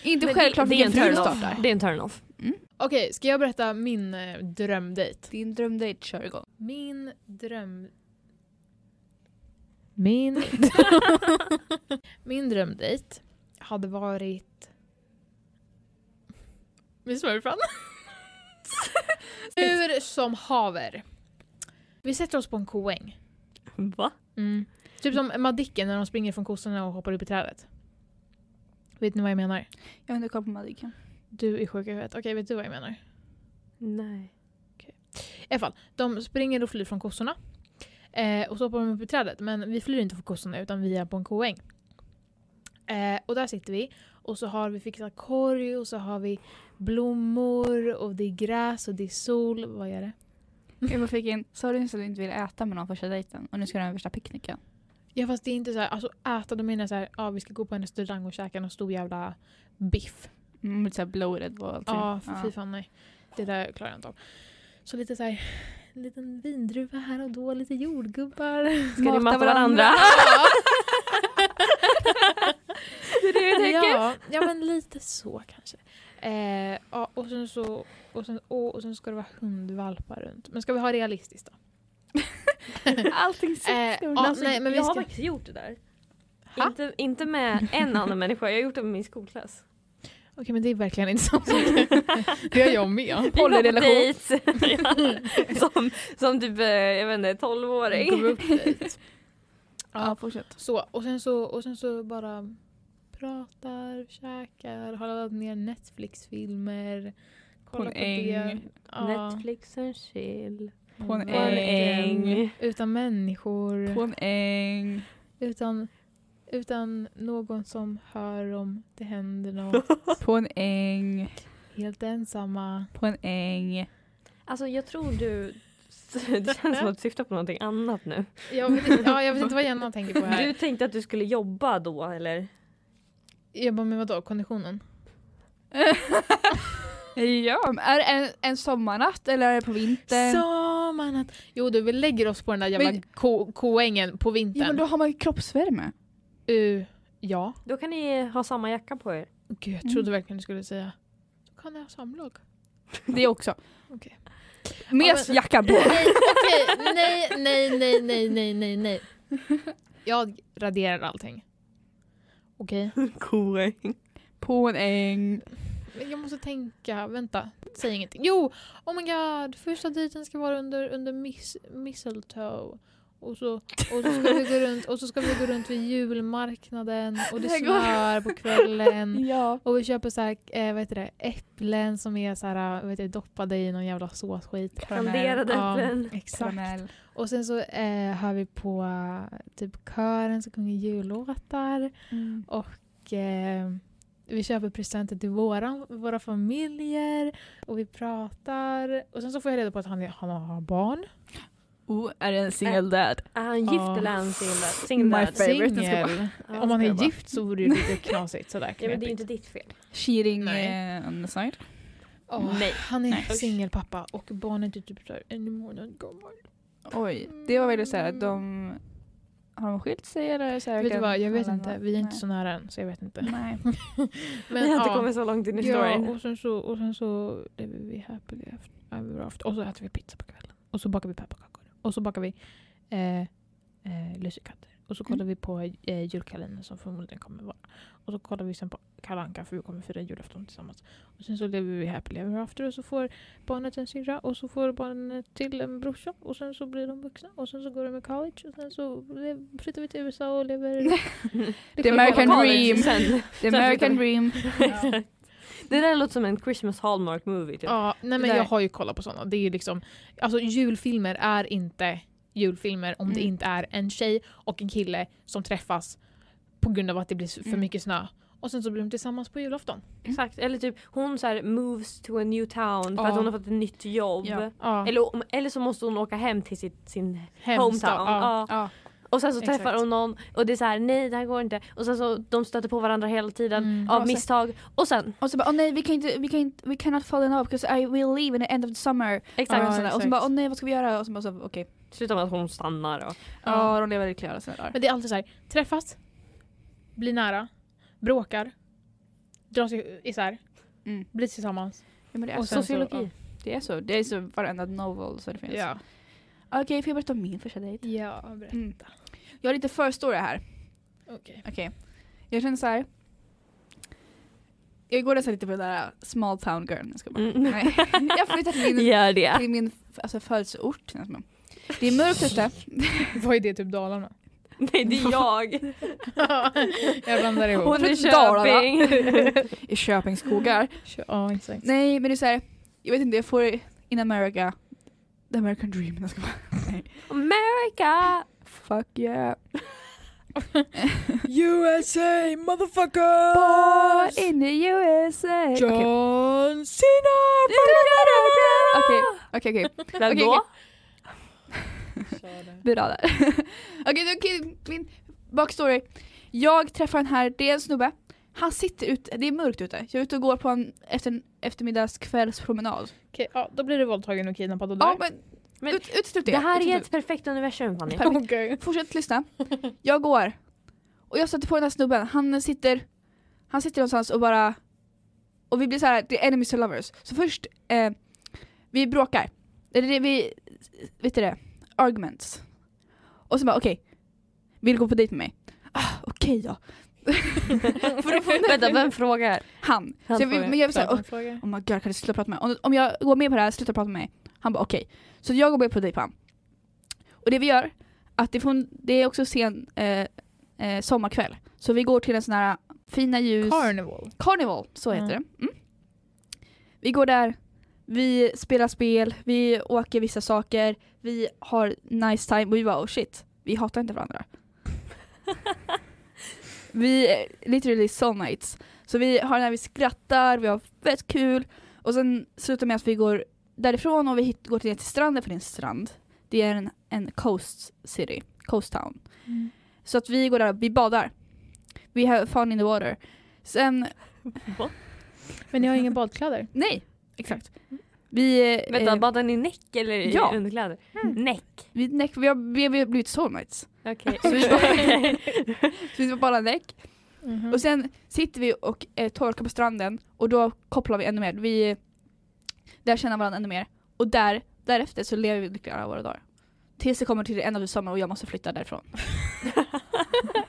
Inte
Men
självklart
det, det är
vilken
en
fru du
turn-off.
startar. Mm.
Det är en turn-off.
Okej, ska jag berätta min eh, drömdejt?
Din drömdejt kör igång.
Min dröm... Min, Min drömdejt hade varit... Vi smörjer fram. Hur som haver. Vi sätter oss på en koäng.
Va?
Typ som Madicken när de springer från kossorna och hoppar upp i trädet. Vet ni vad jag menar?
Jag har inte koll på Madicken.
Du är sjuk i huvudet. Okej, vet du vad jag menar?
Nej.
I alla fall, de springer och flyr från kossorna. Eh, och så hoppar de upp i trädet. Men vi flyr inte från kossorna utan vi är på en koäng. Eh, och där sitter vi. Och så har vi fixat korg och så har vi blommor och det är gräs och det är sol. Vad är det?
Mm.
Jag fick in, sa du nyss att du inte ville äta med någon första dejten och nu ska du ha värsta picknicken?
Ja fast det är inte så här, alltså äta då menar jag så här, ja vi ska gå på en restaurang och käka någon stor jävla biff.
Mm, lite såhär bloated och allt.
Ja,
det.
för fy fan nej. Det där klarar jag inte av. Så lite så här en liten vindruva här och då, lite jordgubbar.
Ska ni mata varandra?
det är det du tänker?
ja, ja, men lite så kanske. Eh, ja, och, sen så, och, sen, och, och sen ska det vara hundvalpar runt. Men ska vi ha realistiskt då?
Allting
Eh,
sitter
ja,
och
nej, men vi
Alltså, jag har
ska-
faktiskt gjort det där.
Ha?
Inte, inte med en annan människa, jag har gjort det med min skolklass.
Okej, men det är verkligen inte samma sak. det är jag med.
Vi var på
Polyrelation.
dejt. Ja. som, som typ, eh, jag vet inte, 12-åring.
Gruppdate.
Ja,
Ja,
fortsätt.
så. Och sen så, och sen så bara pratar, käkar, har laddat ner Netflix-filmer.
På en
kollar
äng.
Ja,
Netflix and chill.
På en
På en
verkligen.
äng.
Utan människor.
På en äng.
Utan, utan någon som hör om det händer något.
På en äng.
Helt ensamma.
På en äng.
Alltså jag tror du, det känns som att du syftar på någonting annat nu.
Jag vet, ja, jag vet inte vad Jenna tänker på
Du
här.
tänkte att du skulle jobba då eller?
Jag bara, men vadå, konditionen?
ja, men är det en, en sommarnatt eller är det på vintern?
Sommarnatt. Jo du, vi lägger oss på den där jävla
Men-
ko- koängen på
ja, men
vintern.
då har man ju kroppsvärme.
Uh, ja.
Då kan ni ha samma jacka på er.
Gud, jag trodde verkligen du skulle säga, då kan jag ha samlag.
Det också.
Okej.
Med
Ja, men-
jacka på.
Nej, okej, nej, nej, nej, nej, nej, nej, nej. Jag raderar allting. Okej.
Koäng.
På en äng.
Men Jag måste tänka, vänta, säg ingenting. Jo! Oh my god, första dejten ska vara under, under miss, mistletoe. Och så, och, så ska vi gå runt, och så ska vi gå runt vid julmarknaden och det
Det går-
snöar på kvällen.
Ja.
Och vi köper så här, eh, vad heter det, äpplen som är så här, eh, vad heter det, doppade i någon jävla såsskit.
Kanderade äpplen.
exakt. Och sen så eh, hör vi på eh, typ kören som sjunger jullåtar.
Mm.
Och eh, vi köper presenter till våra, våra familjer och vi pratar. Och sen så får jag reda på att han, är, han har barn.
Oh, är det en single dad?
Är han gift
Ja.
eller är han singel? Singel
My
dad.
friend. Favorite, den ska
Singel.
Ja,
Om man
ska
är
jag bara.
gift så vore det ju lite knasigt. Sådär,
Ja, men det är ju
knepigt.
inte ditt fel.
Cheating
Nej.
eh, on the side.
Åh,
Nej.
Han är
Nej.
singelpappa och barnet är typ såhär en månad gammal.
Oj, det var väl så här att de... Har de skilt sig eller? Så här,
Vet du vad, jag vet
Alla-
inte. Vi är inte
Nej.
så nära än så jag vet inte.
Nej.
Men,
Vi har inte
ja.
kommit så långt in i storyn.
Ja, och sen så, och sen så lever vi happily after, ever after. Och så äter vi pizza på kvällen. Och så bakar vi pepparkakor. Och så bakar vi eh, eh, lussekatter. Och så kollar
Mm.
vi på eh, julkalendern som förmodligen kommer vara. Och så kollar vi sen på Kalle Anka för vi kommer fira julafton tillsammans. Och sen så lever vi happily ever after och så får barnet en syrra och så får barnet till en brorsa och sen så blir de vuxna och sen så går de i college och sen så lev- flyttar vi till USA och lever...
The American
Kolla
dream.
Sen.
The American dream.
Det där låter som en Christmas Hallmark movie. Typ.
Ja, nej men
där-
jag har ju kollat på sådana. Det är ju liksom, alltså julfilmer är inte julfilmer om det
Mm.
inte är en tjej och en kille som träffas på grund av att det blir s- för
Mm.
mycket snö. Och sen så blir de tillsammans på julafton.
Exakt. Eller typ hon så här moves to a new town för
Ja.
att hon har fått ett nytt jobb.
Ja.
Ja,
Eller, om- eller så måste hon åka hem till sitt, sin
hemskt.
hometown.
Ja.
Ja.
Ja.
Och sen så
Exakt.
träffar hon någon och det är så här: nej det här går inte. Och sen så de stöter på varandra hela tiden
Mm.
av
Ja, sen-
misstag. Och sen,
Och så bara, åh nej, vi kan inte, vi kan inte, we cannot fall in love because I will leave in the end of the summer.
exakt.
Ja,
och, sådär. och så
exakt.
bara, åh nej, vad ska vi göra? Och så bara, så, okej.
Slutar med att hon stannar. Och,
Ja.
Ja, de lever lyckliga alla sina dagar.
Men det är alltid så här, träffas, blir nära, bråkar, dras i- isär,
Mm.
blir tillsammans.
Ja, men det är
Och
så.
sen så-
sociologi.
Det är så. Det är så varenda novel så det finns. Okej, får jag berätta om min första dejt?
ja berätta.
Mm. Jag har lite förstory här.
Okej.
Okej. Jag känner så här. Jag går nästan lite på den där small town girl. Jag, ska bara.
Mm.
Nej. jag flyttar till min,
Gör det.
till min alltså, födelseort. känns det som. Det är mörkt ute.
Vad är det, typ Dalarna?
Nej det är jag.
jag blandar ihop.
Hon är
Från Dalarna.
Köping.
I Köpings skogar.
Ja, exakt.
Nej men det är så här. Jag vet inte, jag får in America. The American dream. Jag ska bara. Nej.
America!
Fuck yeah.
USA motherfucker!
Born in the USA. Okej.
John Cena!
Okej, okej, okej.
Vem
Okej,
då?
Bra där. okej, nu- okej, min backstory. Jag träffar den här, det är en snubbe. Han sitter ute, det är mörkt ute. Jag är ute och går på en, efter en eftermiddagskvällspromenad.
Okej, ja, då blir du våldtagen och kidnappad och dör.
Ja men
Men
Ut, uteslut det.
Det här är
uteslut.
ett perfekt universum Fanny.
Per- Fortsätt lyssna. Jag går. Och jag sätter på den här snubben. Han sitter, han sitter någonstans och bara... Och vi blir så här, det är enemies to lovers. Så först, eh, vi bråkar. Eller det, vi, vet du det? Arguments. Och så bara okej, vill du gå på dejt med mig? Ah, okej då.
Vänta, vem frågar?
Han.
Han
så jag,
frågar.
men jag vill säga, oh,
fråga.
oh my god, kan du sluta prata med mig? Om, om jag går med på det här, sluta prata med mig. Han bara okej. Så jag går med på dejt på honom. Och det vi gör, att det, får, det är också sen eh, eh, sommarkväll. Så vi går till en sån här fina ljus...
Carnival.
Carnival, så heter
Mm.
det. Mm. Vi går där, vi spelar spel, vi åker vissa saker, vi har nice time och vi bara oh shit, vi hatar inte varandra. vi är literally soulmates. Så vi har när vi skrattar, vi har fett kul och sen slutar med att vi går därifrån och vi hit, går ner till stranden, för det är en strand. Det är en, en coast city, coast town. Så att vi går där, vi badar. We have fun in the water. Sen
Men ni har inga badkläder?
Nej, exakt. Vi, eh,
Vänta, badar ni näck eller i
ja.
underkläder?
Mm.
Näck.
vi, näck, vi, har, vi har blivit soulmates.
Okej.
Så vi
Okej.
Så vi ska bara näck.
Mhm.
Mm.
Och sen sitter vi och eh, torkar på stranden och då kopplar vi ännu mer. Vi eh, där känner varandra ännu mer. Och där, därefter så lever vi lyckliga alla våra dagar. Tills det kommer till det enda av sommaren och jag måste flytta därifrån.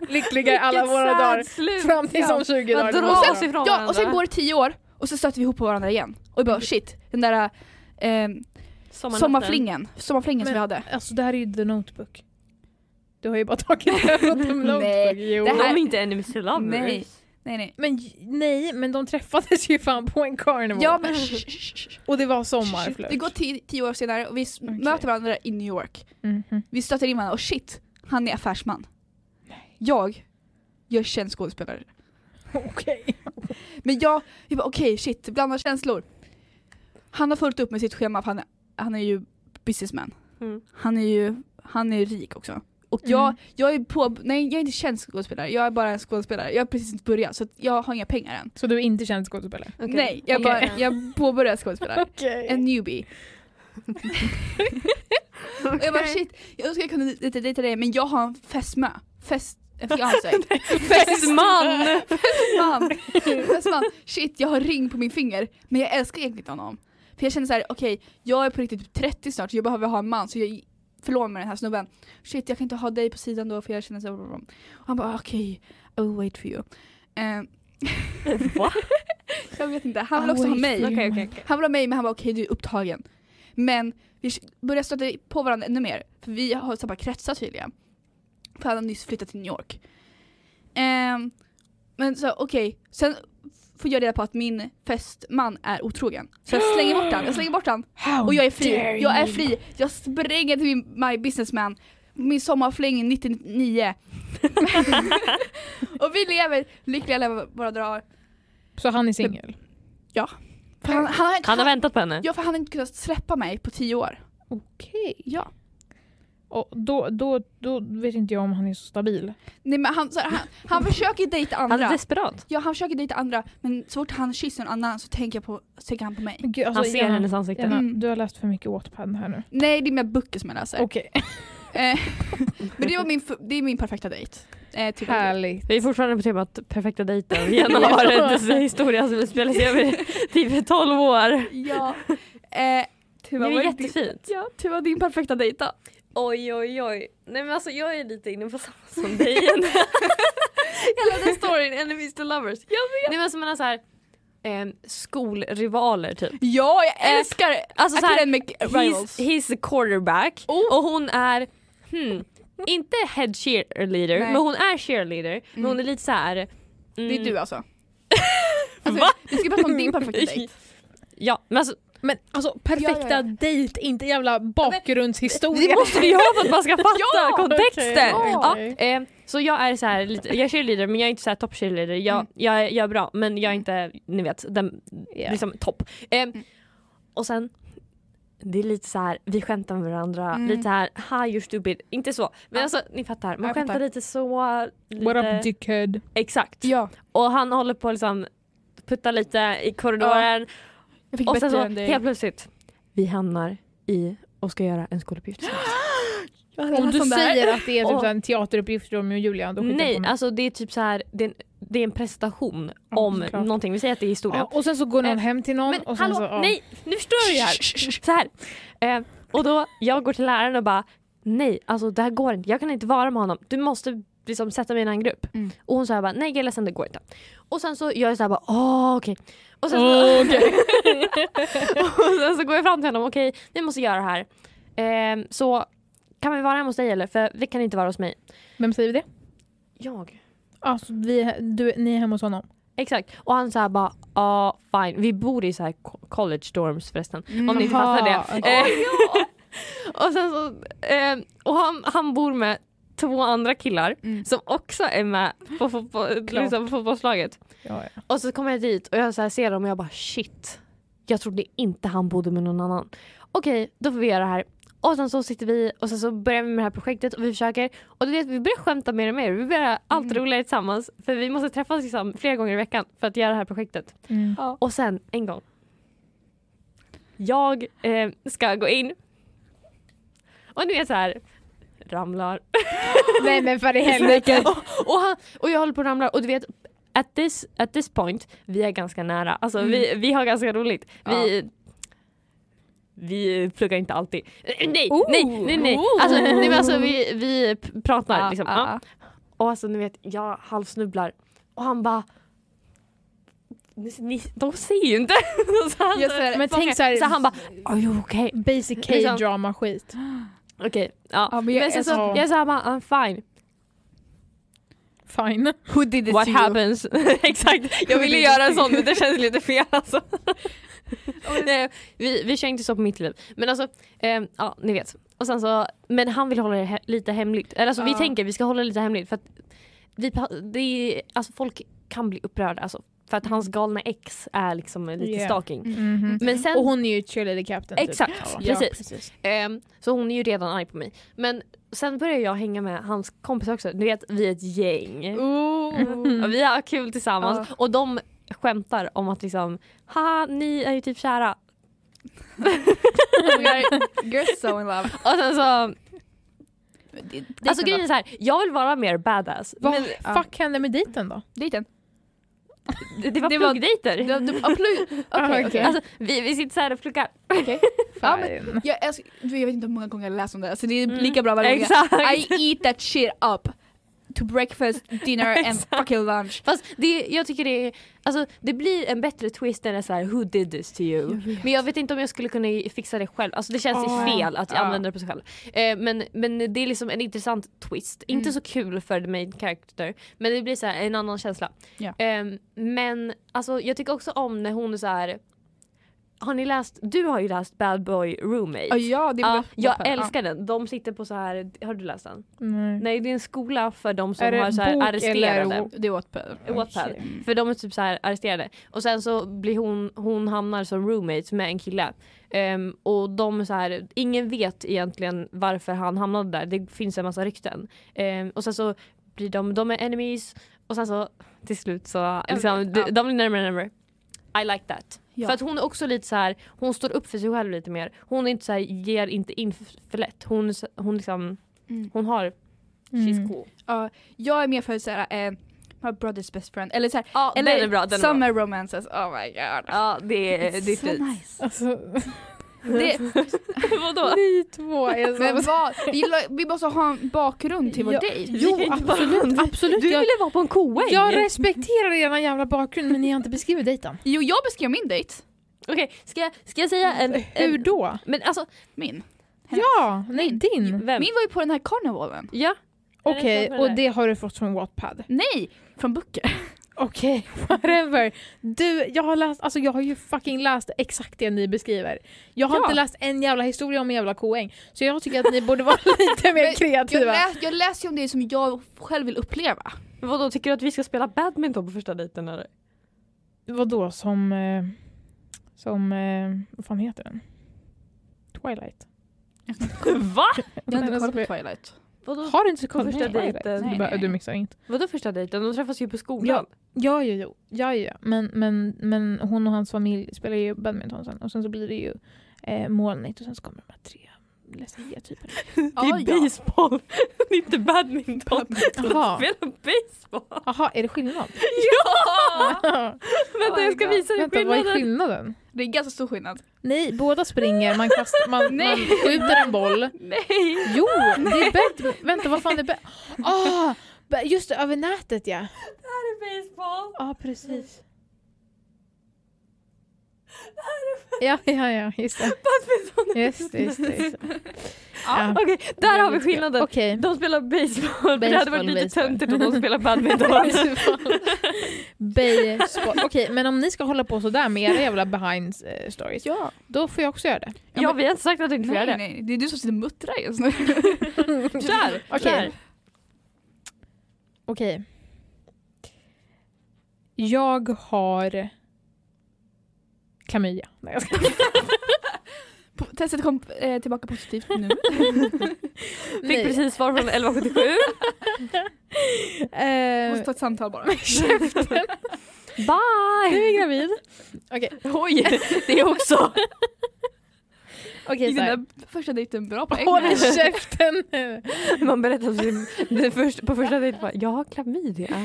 Lyckliga alla
Vilket
våra
sad
dagar.
slut.
Fram tills
Ja.
om 20
Man
dagar.
drar
Och
sig
sen-
ifrån
Ja,
varandra. Mm.
och sen går det tio år och så stöter vi ihop på varandra igen. Och vi bara shit, den där eh,
Sommarnatten.
sommarflingen, sommarflingen som
Men-
vi hade.
Alltså det här är ju the notebook. Du har ju bara tagit det från the notebook.
Nej,
jo.
det
De
här-
är inte enemies to lovers.
Nej. Nej nej.
Men j- nej, men de träffades ju fan på en carnival.
Ja men shh, shh, shh.
Och det var sommarflört.
Det går tio, tio år senare och vi s-
Okej.
möter varandra i New York.
Mhm.
Vi stöter in varandra och shit, han är affärsman. Jag, jag är känd skådespelare.
Okej.
Men jag, vi bara okej shit, blandar känslor. Han har fullt upp med sitt schema för han är, han är ju businessman.
Mm.
Han är ju, han är ju rik också. Och jag,
Mm.
jag är på, nej jag är inte känd skådespelare, jag är bara en skådespelare. Jag har precis inte börjat så att jag har inga pengar än.
Så du är inte känd skådespelare?
Okej.
Nej, jag,
Okej.
bara, jag påbörjar skådespelare.
Okej.
En newbie. Och jag bara
Okej.
shit, jag önskar jag kunde dejta dejta dig men jag har en fästmö. Fest... Fiancé.
Fästman!
Fästman. Fästman. Shit jag har ring på min finger men jag älskar egentligen inte honom. För jag känner så här: okej jag är på riktigt typ 30 snart så jag behöver ha en man så jag förlorar mig den här snubben. Shit jag kan inte ha dig på sidan då för jag känner så här, Och han bara okej, I will wait for you. Eh,
Va?
jag vet inte, han vill också ha mig.
Okej, okej, okej.
Han var med men han var okej du är upptagen. Men vi började stöta på varandra ännu mer för vi har samma kretsar tydligen. För han har nyss flyttat till New York. Ehm, men så okej, sen får jag reda på att min fästman är otrogen. Så jag slänger bort han, jag slänger bort han
How
och jag är fri.
dare
Jag är
you.
fri. Jag spränger till min my businessman. Min sommarfling 99. och vi lever lyckliga lever våra dagar.
Så han är singel?
För Han, han,
Han har väntat på henne.
Ja för han har inte kunnat släppa mig på tio år.
Okej.
Ja.
Och då, då, då vet inte jag om han är så stabil.
Nej men han, så här, han, han försöker dejta
Han är
andra.
desperat.
Ja han försöker dejta andra men så fort han kysser någon annan så tänker, jag på, så tänker han på mig.
Men Gud, alltså,
Han ser
Jenna,
hennes ansikte.
Jenna,
Mm.
Du har läst för mycket Wattpad här nu.
Nej det är mina böcker som jag läser.
Okej,
Eh, men det, var min, f- det är min perfekta dejt. Eh, typ.
härligt.
Vi är fortfarande på temat perfekta dejten. Jenna har en historia som spelas över typ 12 år.
Ja. Eh,
Det
Tuva, vad
är
är din,
jättefint.
ja, Tuva din perfekta dejta.
Oj oj oj. Nej men alltså jag är lite inne på samma som dig igen. Hela den storyn, enemies to lovers. Jag vet. Nej men alltså, som menar såhär, eh, skolrivaler typ.
Ja jag älskar
Alltså så här,
academic rivals.
he's, he's a quarterback
Oh.
och hon är, hmm, inte head cheerleader
Nej.
men hon är cheerleader. Men
Mm.
hon är lite såhär. Mm,
Det är du alltså. alltså
Va?
Vi ska prata om din perfekta dejt.
Ja men alltså
Men alltså perfekta
Ja, ja, ja.
dejt, inte jävla bakgrundshistoria.
Det måste vi ha för att man ska fatta
Ja,
kontexten.
okej,
ja.
okej.
eh, så jag är så här, lite, jag är cheerleader men jag är inte så här topp cheerleader. Jag,
Mm.
jag, är- jag är bra men jag är inte, ni vet, den, liksom topp. Eh,
Mm.
Och sen, det är lite så här, vi skämtar med varandra,
Mm.
lite så här, hi you're stupid, inte så. Men
Ja.
alltså ni fattar, man
jag
skämtar
fattar.
lite så. Lite,
What up dickhead?
Exakt.
Ja.
Och han håller på att liksom putta lite i korridoren
Jag fick
och sen
bättre
så
än dig.
helt plötsligt, vi hamnar i och ska göra en skoluppgift tillsammans.
Om du säger att det är typ så här en teateruppgift för Romeo och Julia, då skiter jag
Nej,
på mig.
alltså det är typ så här, det är en, det är en prestation
Ja,
om
såklart.
någonting. Vi säger att det är historia.
ja, Och sen så går någon
Eh,
hem till någon
Men
och sen
hallå,
så... ja.
nej, nu förstår jag ju här. Så här. Eh, och då, jag går till läraren och bara, nej, alltså det här går inte. Jag kan inte vara med honom. Du måste liksom sätta mig i en annan grupp.
Mm.
Och hon säger bara, nej jag är ledsen, det går inte. Och sen så gör jag så här bara, åh okej. Och, sen så,
Åh, okej.
och sen så går jag fram till honom, okej, vi måste göra det här. Eh, så kan vi vara hemma hos dig eller? För vi kan inte vara hos mig.
Vem säger det?
Jag?
Alltså, vi, du, ni är hemma hos honom.
Exakt. Och han såhär bara, ja fine. Vi bor i så här co- college dorms förresten.
Mm.
Om ni inte
Jaha,
fattar det.
okej.
Eh, och sen så, eh, och han, han bor med två andra killar
Mm.
som också är med på, fotboll,
Klart.
liksom, fotbollslaget.
Ja, ja.
Och så kommer jag dit och jag så här ser dem och jag bara shit. Jag trodde inte han bodde med någon annan. Okej, då får vi göra det här. Och sen så sitter vi och sen så börjar vi med det här projektet och vi försöker. Och du vet, vi börjar skämta mer och mer. Vi börjar allt
Mm.
roligare tillsammans. För vi måste träffas liksom, flera gånger i veckan för att göra det här projektet.
Mm.
Och sen en gång. Jag eh, ska gå in. Och nu är jag så här. Ramlar.
Nej men för i helvete.
Och, han, och jag håller på att ramla och du vet at this, at this point, vi är ganska nära. Alltså
Mm.
vi, vi har ganska roligt. Vi, vi pluggar inte alltid. Eh, Nej,
Oh.
nej, nej, nej. Alltså, nej men alltså vi, vi p- pratar
Ja, Ah,
liksom. Ja.
ja,
Och alltså ni vet, jag halvsnubblar. Och han bara ni, ni, de ser ju inte. så han,
Jag
Alltså,
så-
ser- men tänk så här-
så han bara, are you okay?
Basic
Liksom.
K-drama-skit.
Okej, ja.
Ja, men
men
jag
sen
är
så,
så-
jag sa bara, I'm fine.
Fine.
Who did it
What
to you?
happens? Exakt, jag ville
did
göra en
it to
sån men det känns lite fel alltså. Nej, vi, vi kör inte så på mitt liv. Men alltså, ehm, ja ni vet. Och sen så, men han vill hålla det he- lite hemligt. Eller alltså vi
Ja.
tänker vi ska hålla det lite hemligt för att vi, pa- det är, alltså, folk kan bli upprörda alltså. För att hans galna ex är liksom lite
Yeah.
stalking.
Mhm.
Men sen
Och hon är ju cheerleader captain.
Exakt,
Ja,
precis. Ehm, så hon är ju redan arg på mig. Men sen börjar jag hänga med hans kompis också. Ni vet, vi är ett gäng.
Oh.
Och vi har kul tillsammans. Och de skämtar om att liksom, haha ni är ju typ kära.
Oh You're so in love.
Och sen så, alltså grejen är så här, jag vill vara mer badass.
Vad
Men
fuck hände med dejten då?
Dejten.
det, det var
det var-
pluggdejter.
Du, du, ja, plugg.
Ah,
Okej,
okej.
okej.
Alltså, vi, vi sitter så här och pluggar.
Ja,
Fine.
Jag, älsk- du, jag vet inte hur många gånger jag läst om det, så det är
Mm.
lika bra varje gång.
Exakt.
I eat that shit up. To breakfast, dinner and fucking lunch.
Fast det, jag tycker det är, alltså det blir en bättre twist än en så här who did this to you. Men jag vet inte om jag skulle kunna fixa det själv. Alltså det känns
Ja.
fel att jag
Ja.
använder det på sig själv. Eh, men, men det är liksom en intressant twist. Inte
Mm.
så kul för the main character. Men det blir så här en annan känsla.
Ja.
Eh, men alltså jag tycker också om när hon är så här. Har ni läst, du har ju läst Bad Boy Roommate.
Ja, ja, det var
Ja, jag älskar den. De sitter på så här, har du läst den?
Nej.
Nej det är en skola för de som
Är det
har så här
bok
arresterade.
eller-
Det åt på.
Wattpad.
Okej.
Mm.
För de är typ så här arresterade. Och sen så blir hon, hon hamnar som roommate med en kille. Ehm, och de är så här, ingen vet egentligen varför han hamnade där. Det finns en massa rykten. Ehm, och sen så blir de, de är enemies. Och sen så till slut så,
vet,
liksom, de,
ja.
de blir närmare och närmare. I like that.
Ja.
För att hon är också lite så här, hon står upp för sig själv lite mer. Hon är inte så här, ger inte in för för lätt. Hon, är så- hon liksom,
Mm.
hon har, she's
Mm.
cool.
Ja, jag är mer för såhär, eh, my brother's best friend. Eller såhär,
Ja,
eller
den är bra. Den är bra.
summer romances. Oh my god.
Ja, det är, det är
so
fint.
nice.
Alltså,
Det,
Vadå?
ni två är så...
men vad, vi, la- vi måste ha en bakgrund till vår
Ja.
dejt.
Jo absolut, absolut.
Du
Jag,
ville vara på en koäng!
jag respekterar er jävla bakgrund men ni har inte beskrivit dejten.
Jo, jag beskrev min dejt.
Okej, ska, jag- ska jag säga en...
Hur
en
då?
men alltså,
Min.
Ja, nej din.
vem?
Min var ju på den här karnevalen.
Ja.
Okej, och det har du fått från Wattpad.
Nej, från böcker.
Okej, whatever. Du, jag har läst, alltså jag har ju fucking läst exakt det ni beskriver. Jag har
Ja.
inte läst en jävla historia om en jävla koäng. Så jag tycker att ni borde vara lite mer
Men Jag,
kreativa.
läs, jag läser ju om det som jag själv vill uppleva.
Vadå, tycker du att vi ska spela badminton på första dejten eller?
Vadå som, eh, som, eh, vad fan heter den? Twilight.
Va?
Jag har inte
Men
kollat på
alltså,
Twilight.
Vadå,
Har du inte så koll på
första
Twilight?
dejten?
Du,
Nej,
bara,
nej.
du mixar inte.
vadå första dejten? De träffas ju på skolan.
Ja, ja, ja. ja, ja. Men, men, men hon och hans familj spelar ju badminton sen och sen så blir det ju eh, molnigt och sen så kommer de här tre läskiga typer.
Det är baseball. Det är inte badminton.
Jaha.
Spela baseball.
Jaha, är det skillnad?
Ja! Vänta
Oh
jag
my
ska
God.
visa dig
Vänta, vad är
skillnaden.
skillnaden?
Det är ganska stor skillnad.
Nej, båda springer, man, kastar, man, man
Nej.
skjuter en boll.
Nej!
Jo, det är badminton. Vänta, vad fan är badminton? Ah, ba- just det, över nätet ja.
Det här är baseball.
Ja, precis.
Det här är
Ja, ja, ja, just det.
badminton.
Just det, just det. Just det.
Ja.
Ja.
Okej, där har vi skillnaden.
Okej.
De spelar baseball. Det hade varit
Baseball,
lite
baseball.
töntigt om de spelar badminton.
Baseball. Okej, men om ni ska hålla på sådär med era jävla behind eh, stories,
Ja.
då får jag också göra det.
Ja, vi har inte sagt att du inte får
Nej,
göra det.
nej, det är du som sitter och muttrar just nu.
Där!
Okej.
där.
Okej. Jag har klamydia. Nej, jag ska...
Po- Testet kom eh, tillbaka positivt nu.
Fick precis svar från 1177.
Eh,
Måste ta ett samtal bara.
Nu
Bye!
är jag gravid. Okej,
Oj, det är också.
okej
Gick
såhär.
den där första dejten bra poäng?
Håll i käften nu.
Man berättar om sin, det först, på första dejten bara, jag har klamydia.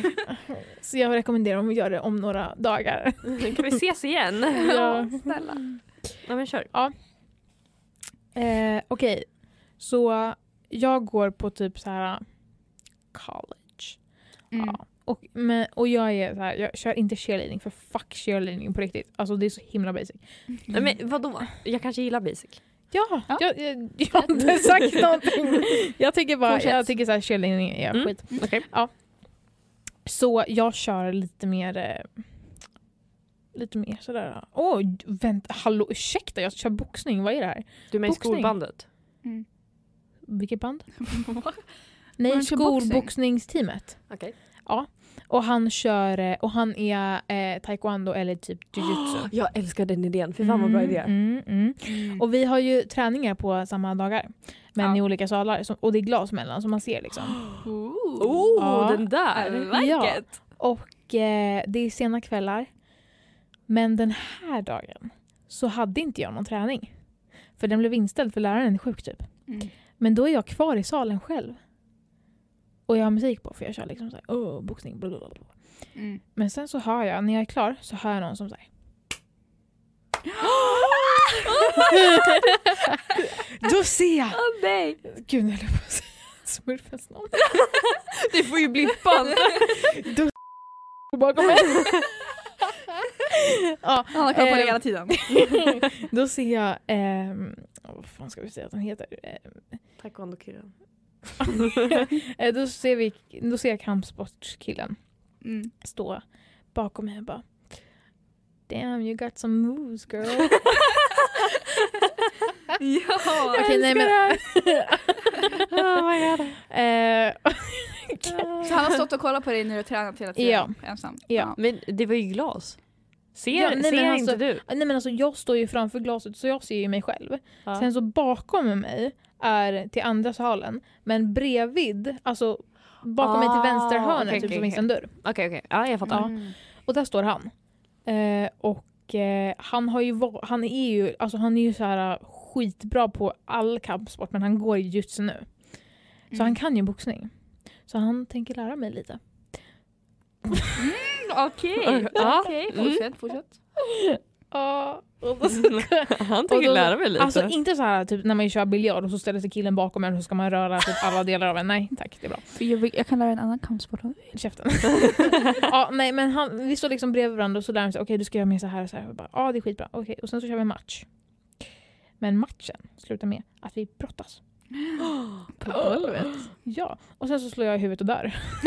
Så jag rekommenderar om vi gör det om några dagar.
Mm, Kan vi ses igen?
Ja.
Snälla.
Ja men kör.
Eh, Okej, så jag går på typ så här college.
Mm.
Ja. Och, men, och jag är så här, jag kör inte cheerleading för fuck cheerleading på riktigt. Alltså det är så himla basic.
Nej, men vadå? Jag kanske gillar basic.
Ja,
Ja.
Jag, jag, jag har inte sagt någonting. Jag tycker bara,
Fortsätt.
jag tycker så här cheerleading är
Mm.
skit.
Okej.
Så jag kör lite mer eh, lite mer sådär. Åh, vänta, hallå, ursäkta, jag kör boxning. Vad är det här?
Du är med i
Boxning.
skolbandet.
Mm.
Vilket band?
Va?
Nej,
Men kör boxning.
skolboxningsteamet.
Okej.
Och han kör, eh, och han är eh, taekwondo eller typ jujutsu.
Jag älskar den idén. Fy fan vad bra idé.
Mm, mm. Och vi har ju träningar på samma dagar. Men
Ja.
i olika salar. som- Och det är glas mellan så man ser liksom.
Ooh.
Oh,
Ja.
den där!
I like
Ja.
it.
Och eh, det är sena kvällar. Men den här dagen så hade inte jag någon träning. För den blev inställd för läraren är sjuk typ.
Mm.
Men då är jag kvar i salen själv. Och jag har musik på för jag kör liksom såhär, oh, boxning, bla, bla, bla.
Mm.
Men sen så hör jag, när jag är klar, så hör jag någon som säger Då ser jag!
Åh, Oh, nej!
Gud, jag höll på att säga smurfens namn.
Du får ju blippa.
Då bakom mig. ja,
Han har koll på
Eh,
det hela tiden.
då ser jag, ehm, vad fan ska vi säga att han heter? Eh,
Taekwondo-killen.
Eh, då, ser vi, då ser jag kampsportskillen
Mm.
stå bakom mig och bara Damn you got some moves girl.
ja.
Okej, nej, men-
oh my god.
Eh,
Så han har stått och kollat på dig när du har tränat hela tiden?
Ja.
Ensam?
Ja.
Men det var ju glas. Ser,
Ja, nej,
ser
men
inte
alltså-
du?
nej men alltså jag står ju framför glaset så jag ser ju mig själv.
Ja.
Sen så bakom mig är till andra salen men bredvid, alltså bakom mig
Ah,
till vänster hörnet
okej,
typ
okej,
så finns
okej.
en dörr.
Okej okej, ja jag fattar.
Ja.
Mm.
Och där står han. Eh, och eh, han har ju va- han är ju, alltså han är ju så här skitbra på all kampsport men han går i jujutsu nu.
Mm.
Så
Mm.
han kan ju boxning. Så han tänker lära mig lite.
Mm, Okej,
Ja.
okej.
Mm.
Fortsätt, fortsätt.
Ja,
Han
Och
tänker
då-
lära mig lite.
Alltså inte så här typ när man kör biljard och så ställer sig killen bakom en och så ska man röra typ alla delar av en. Nej tack, det är bra.
Jag, kan lära en annan kampsport av dig.
Käften. ja, nej men han, vi står liksom bredvid varandra och så lär han sig, okej du ska göra mer så här och så här. Och jag bara, ja det är skitbra. Okej, och sen så kör vi en match. Men matchen slutar med att vi brottas.
På golvet.
Ja, och sen så slår jag i huvudet och dör.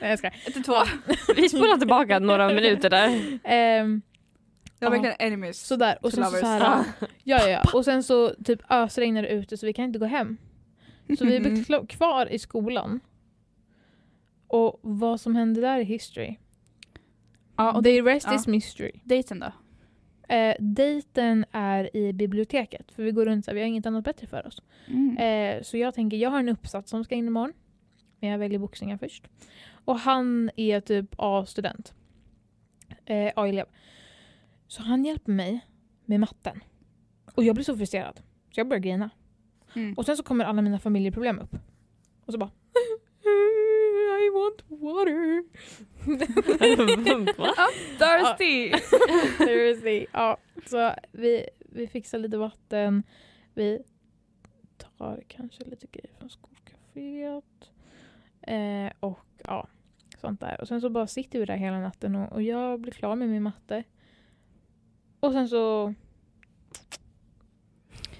nej jag skojar.
Ett två.
Vi spolar tillbaka några minuter där.
Ehm,
Det var
Ja.
verkligen enemies.
Sådär, och
To
sen så,
lovers.
så här, ja, ja, ja. Och sen så typ ösregnar det ute så vi kan inte gå hem. Så vi
Mm-hmm.
blev
Mm.
kla- kvar i skolan. Och vad som hände där är history.
ja, och
The rest
ja.
is mystery.
dejten då?
Eh, dejten är i biblioteket, för vi går runt så här, vi har inget annat bättre för oss.
Mm.
Eh, så jag tänker, jag har en uppsats som ska in imorgon. Men jag väljer boxningar först. Och han är typ A-student. Eh, A-elev. Så han hjälper mig med matten. Och jag blir så frustrerad. Så jag börjar grina.
Mm.
Och sen så kommer alla mina familjeproblem upp. Och så bara I want water.
Va?
Thirsty!
Seriously. Ja, så vi, vi fixar lite vatten. Vi tar kanske lite grejer från skolcaféet. Eh, och ja, sånt där. Och sen så bara sitter vi där hela natten och, och jag blir klar med min matte. Och sen så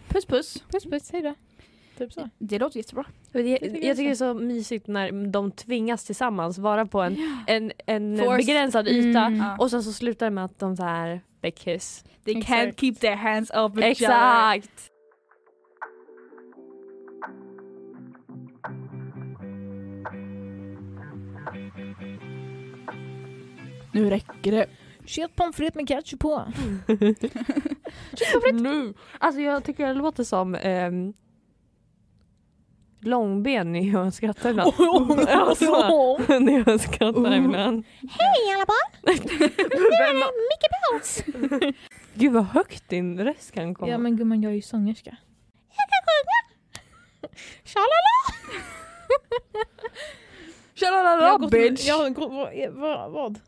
Puss puss.
puss puss, hejdå. Typ så.
Det låter jättebra.
Men det, jag
tycker
tycker
jag
det är så mysigt när de tvingas tillsammans vara på en, en, en
Forced.
begränsad yta
Mm.
Ja.
och sen så slutar det med att de så här they kiss.
They can't
Exakt.
keep their hands off each other.
Exakt!
Nu räcker det.
Kött pommes frites med ketchup på.
nu. Alltså jag tycker jag låter som ehm, Långben när jag skrattar ibland. alltså, när jag skrattar ibland.
Hej alla barn!
Vem,
Micke Paus!
gud vad högt din röst kan komma.
Ja men gumman, jag är ju sångerska. Jag kan sjunga! Tjalala!
Tjalala bitch!
Jag har gått, vad, vad, vad?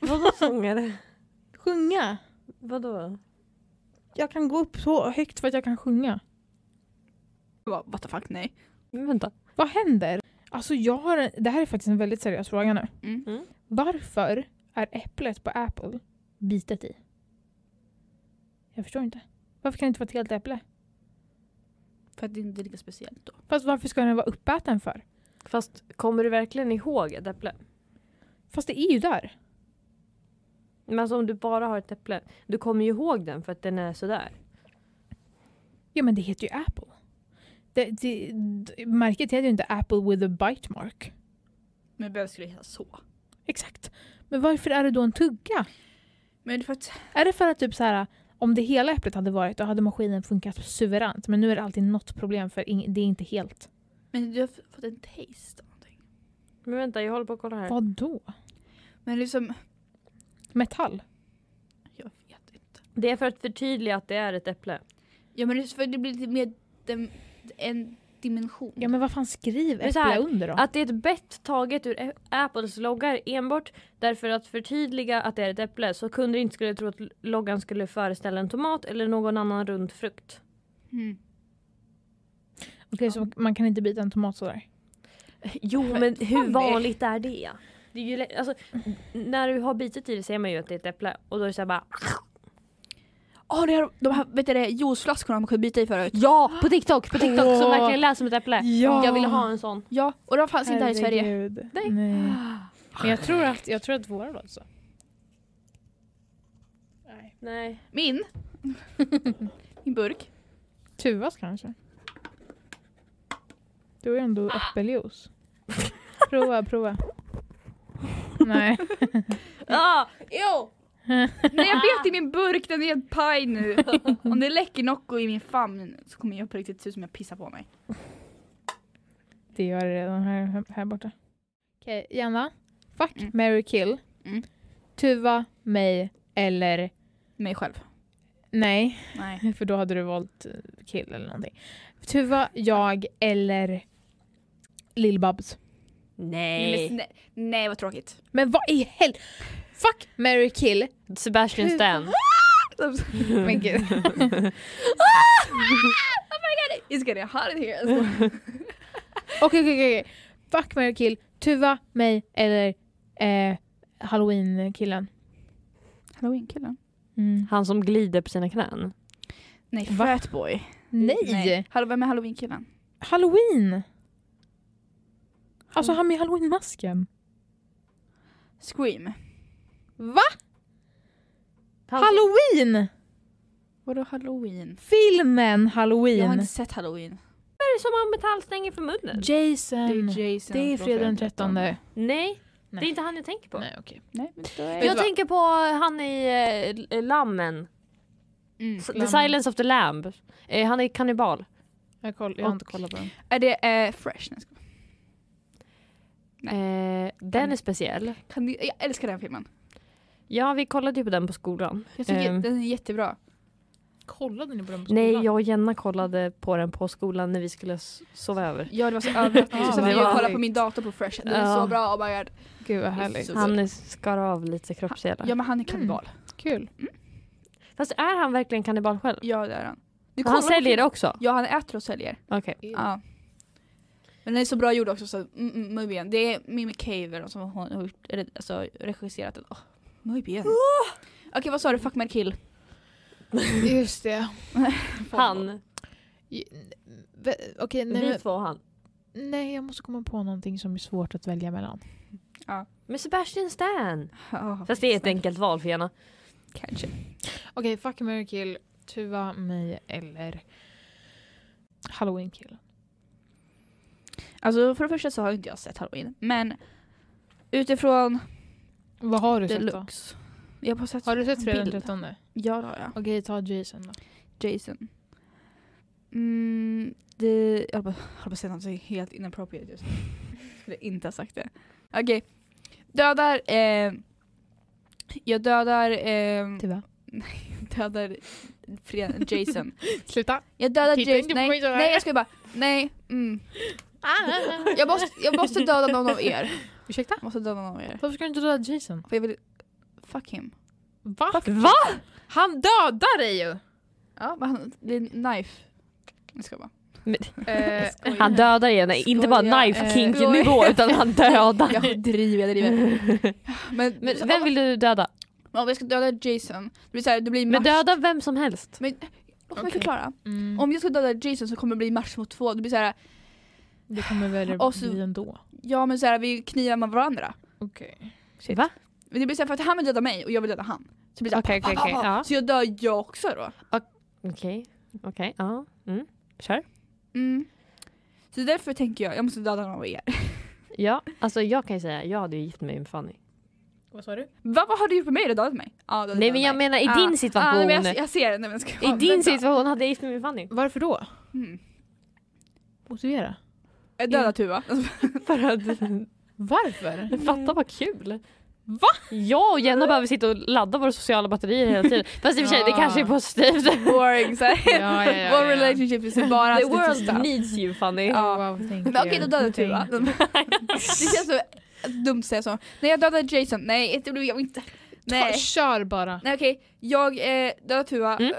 Vadå sångare?
Sjunga?
Vadå?
Jag kan gå upp så högt för att jag kan sjunga.
Bara, What the fuck, nej.
Men Vänta.
Vad händer? Alltså jag har, en- det här är faktiskt en väldigt seriös fråga nu.
Mm.
Varför är äpplet på Apple bitet i? Jag förstår inte. Varför kan det inte vara ett helt äpple?
För att det inte är lika speciellt då.
Fast varför ska den vara uppäten för?
Fast kommer du verkligen ihåg ett äpple?
Fast det är ju där.
Men alltså om du bara har ett äpple, du kommer ju ihåg den för att den är sådär.
Ja men det heter ju Apple. Det, det, d- märket heter ju inte Apple with a bite mark.
Men det behöver skulle heta så.
Exakt. Men varför är det då en tugga?
Men det är för att
Är det för att typ så här, om det hela äpplet hade varit då hade maskinen funkat suveränt. Men nu är det alltid något problem för ing- det är inte helt.
men du har f- fått en taste av någonting.
Men vänta, jag håller på att kolla här.
Vad då?
Men liksom,
Metall?
jag vet inte.
Det är för att förtydliga att det är ett äpple.
Ja men det, är för det blir lite mer dem, en dimension.
Ja men vad fan skriv
Men
äpple
så här,
under då?
Att det är ett bett taget ur Ä- Apples logga är enbart därför att förtydliga att det är ett äpple så kunder inte skulle tro att l- loggan skulle föreställa en tomat eller någon annan rund frukt.
Mm.
Okej så man kan inte bita en tomat sådär?
Jo men hur
fan, det-
vanligt är det? det är ju, lä- alltså, n- när du har bitit i det ser man ju att det är ett äpple och då är det såhär bara
Åh, det här, de här vet du det, juiceflaskorna man kunde byta i förut.
Ja! På TikTok! På TikTok som
Åh.
verkligen lät som ett äpple.
Ja.
Jag ville ha en sån.
Ja, och de fanns inte här i Sverige.
Herregud.
Nej. Ah.
Nej. Men jag tror att, jag tror att våra låter så. Nej.
Nej.
Min. Min burk.
Tuvas kanske? Du är ändå
Ah.
äppeljuice. prova, prova. Nej.
Ah, jo!
Nej jag bet i min burk, den är helt paj nu. Om det läcker Nocco i min famn så kommer jag på riktigt se ut som jag pissar på mig.
Det gör det redan här, här borta. Okej, Janna. Fuck,
Mm.
marry, kill.
Mm.
Tuva, mig eller...
Mig själv.
Nej,
Nej.
för då hade du valt eh, kill eller någonting. Tuva, jag eller Lill-Babs.
Nej.
Nej.
men snä- Nej vad tråkigt.
Men vad i hel... Fuck, marry, kill.
Sebastian Stan.
Men gud.
It's getting hot in here. Alltså.
Okej, okej, okej. okej. Fuck, marry, kill. Tuva, mig eller eh, halloween-killen.
Halloween-killen?
Mm.
Han som glider på sina knän.
Nej,
Va?
Fatboy.
Nej.
Hallå, vem är halloween-killen?
Halloween! Alltså han med halloween-masken.
Scream.
Va?
Han
Halloween!
Vadå halloween?
Filmen
Jag har
Halloween.
inte sett halloween.
Som är det som har metallstänger för munnen?
Jason.
Jason.
Det är fredag den 13. Nej,
Nej, det
Nej.
är inte han jag tänker på.
okej.
Nej, men då är
Vet du
Jag
vad?
tänker på han i eh, Lammen.
Mm.
S- The
Lammen.
Silence of the Lamb. Eh, han är kannibal.
Jag, koll, jag har inte kollat på den.
Är det eh, fresh? Nej, jag skojar.
Eh, den är speciell.
Kan ni, jag älskar den filmen.
Ja, vi kollade ju på den på skolan.
Jag tycker
Ehm.
den är jättebra.
kollade ni på den på
Nej,
skolan?
jag och Jenna kollade på den på skolan när vi skulle s- sova över.
Ja det var så överallt.
Ja,
så
det
jag
var
kollade
sjukt.
på min dator på Fresh, den är
Ja.
så bra, oh my god.
Gud vad
härligt.
härligt.
Så-
Han är- skar av lite kroppsdelar.
Ja men han är kannibal.
Kul.
Fast är han verkligen kannibal själv?
Ja det är han. Du
han
kollar på
säljer
film-
det också?
Ja han äter och säljer.
Okej.
Ja. Men den är så bra gjord också så mm, mm, muy bien. Det är Mimi Caver som hon har gjort- eller, alltså, regisserat den. Oh, muy bien. Okej vad sa du, fuck, marry, kill?
Just det.
Han.
Ve- Okej, nej,
Vi
men,
två och han.
nej jag måste komma på någonting som är svårt att välja mellan.
Med Sebastian Stan.
Ja,
Fast det är ett enkelt val för Jenna.
Kanske.
Okej, fuck, marry, kill. Tuva, mig eller halloween kill.
Alltså för det första så har inte jag sett Halloween. Men utifrån
Vad har du sett då?
deluxe. Jag har bara sett
Har du sett Fredag den
bild.
13?
Ja det har jag.
Okej, ta Jason då.
Jason. Mm, det, jag höll på jag höll på att säga något helt inappropriate just nu. Skulle inte ha sagt det. Okej. Dödar... Eh, jag dödar... Eh,
Tuva.
dödar Fred- Jason.
Sluta!
Jag dödar
Titta
Jason.
inte på
Nej,
mig sådär.
nej jag ska bara... Nej. Mm. Jag, måste, jag måste döda någon av er.
Ursäkta?
Jag måste döda någon av er.
Varför ska du inte döda Jason?
För jag vill... Fuck him.
Va? Va? Han dödar dig ju!
Ja, men han, det är en knife. Jag ska bara.
Men-
Eh, skojar.
Han dödar Jenna, inte bara
Skoja.
knife
Eh,
kinky nivå utan han dödar.
Jag driver, jag driver. Men,
Men vem vill du döda?
Om jag ska döda Jason, det blir, så här, det blir
Men
match.
döda vem som helst.
Men, låt mig
Okej.
förklara.
Mm.
Om jag ska döda Jason så kommer det bli match mot två. Det blir så här,
Det kommer väl
Och så-
bli ändå.
ja men så här, vi knivar med varandra.
Okej.
Shit.
Va?
Men det blir så här, för att han vill döda mig och jag vill döda han. Så det blir så här,
Okej,
pa,
okej,
pa, pa,
okej,
pa.
ja.
Så jag dör jag också då.
Okej, okej, ja. Mm. Kör.
Mm. Så därför tänker jag, jag måste döda någon av er.
Ja, alltså jag kan ju säga, jag hade ju gift mig med Fanny.
Vad sa du?
Va, vad har du gjort med mig? Har du dödat mig? Ja, du har
Nej
dödat
men jag
mig.
menar i
Ah.
din
Ah, nej,
situation.
men jag, jag ser det. Nej, men jag ska,
I
ja,
din
vänta.
situation hade jag gift mig med Fanny.
Varför då?
Mm.
Motivera.
Jag dödar Tuva.
För att
Varför?
Fatta vad kul!
Va?
Jag och Jenna behöver sitta och ladda våra sociala batterier hela tiden. Fast i och för sig, det kanske är positivt.
Boring så här.
ja, ja, ja,
Vår
ja.
relationship är bara
The world
statistiska.
needs you Fanny.
Ja.
Wow, thank
Men Okej,
you.
då dödar
Thank
Tuva.
you.
Det känns så dumt att säga så. Nej, jag dödade Jason. Nej, det blev jag inte.
Ta,
Nej,
kör bara.
Nej okej. Jag eh, dödar Tuva.
Mm.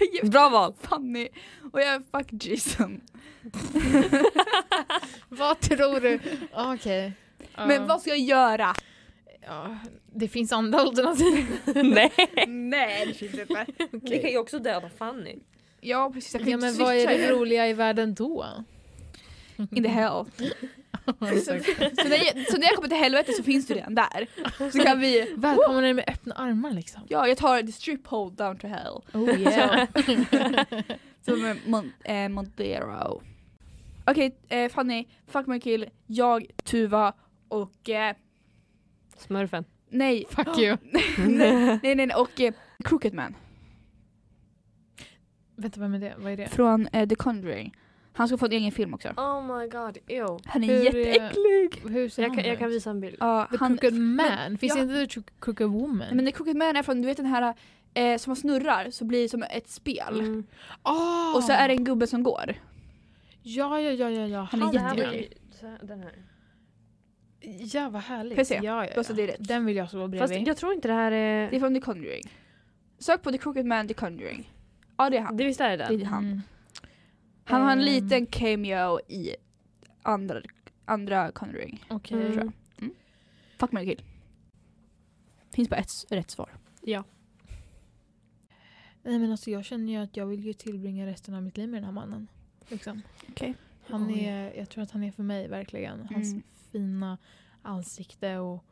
jag ger
Bra val!
Fanny och jag fuck Jason.
Vad tror du? Okej. Ja.
Men vad ska jag göra?
Ja, det finns andra alternativ.
Nej!
Nej, det finns inte.
Vi kan ju också döda Fanny.
Ja, precis. Jag kan
Ja,
inte
men vad är
switcha
det roliga i världen då?
In the hell. Så när, jag, så när jag kommer till helvete så finns du redan där. Så kan vi...
Välkomna dig med öppna armar liksom.
Ja, jag tar the strip hold down to hell.
Oh yeah.
Som är Mon- eh, Montero. Okej eh, Fanny, fuck my kill, jag, Tuva och... Eh,
Smurfen.
nej.
Fuck you.
nej, nej, nej, och eh, Crooked Man
Vänta, vem är det? Vad är det?
från eh, The Conjuring. Han ska få en egen film också.
Oh my god, ew.
Han är
Hur, eh,
jätteäcklig!
Hur ser
Jag
han
kan, jag
ut?
kan visa en bild.
Ja,
The
han,
Crooked Man? Finns
ja.
inte The Tro- Crooked Woman?
men The Crooked Man är från, du vet den här eh, som man snurrar så blir det som ett spel.
Mm.
Ah!
Och så är det en gubbe som går.
Ja, ja, ja, ja, ja. Han,
är
Det här
jättegul.
blir ju- så här- den här.
Ja, vad härligt.
PC.
Ja, ja,
Alltså, det är
ja.
rätt.
Den vill jag stå
Fast
bredvid.
jag tror inte det här
Det är
är...
från The Conjuring. Sök på The Crooked Man, The Conjuring. Ja det är han.
Det visst är det
Det
den?
är han.
Mm.
Han har en
Ehm.
liten cameo i andra, andra Conjuring.
Okej.
Mm.
tror Fuck, marry, kill. Finns bara ett s- rätt svar.
Ja.
Nej men alltså jag känner ju att jag vill ju tillbringa resten av mitt liv med den här mannen. Liksom.
Okej.
Han
Oj.
är, jag tror att han är för mig verkligen. Hans
Mm.
fina ansikte och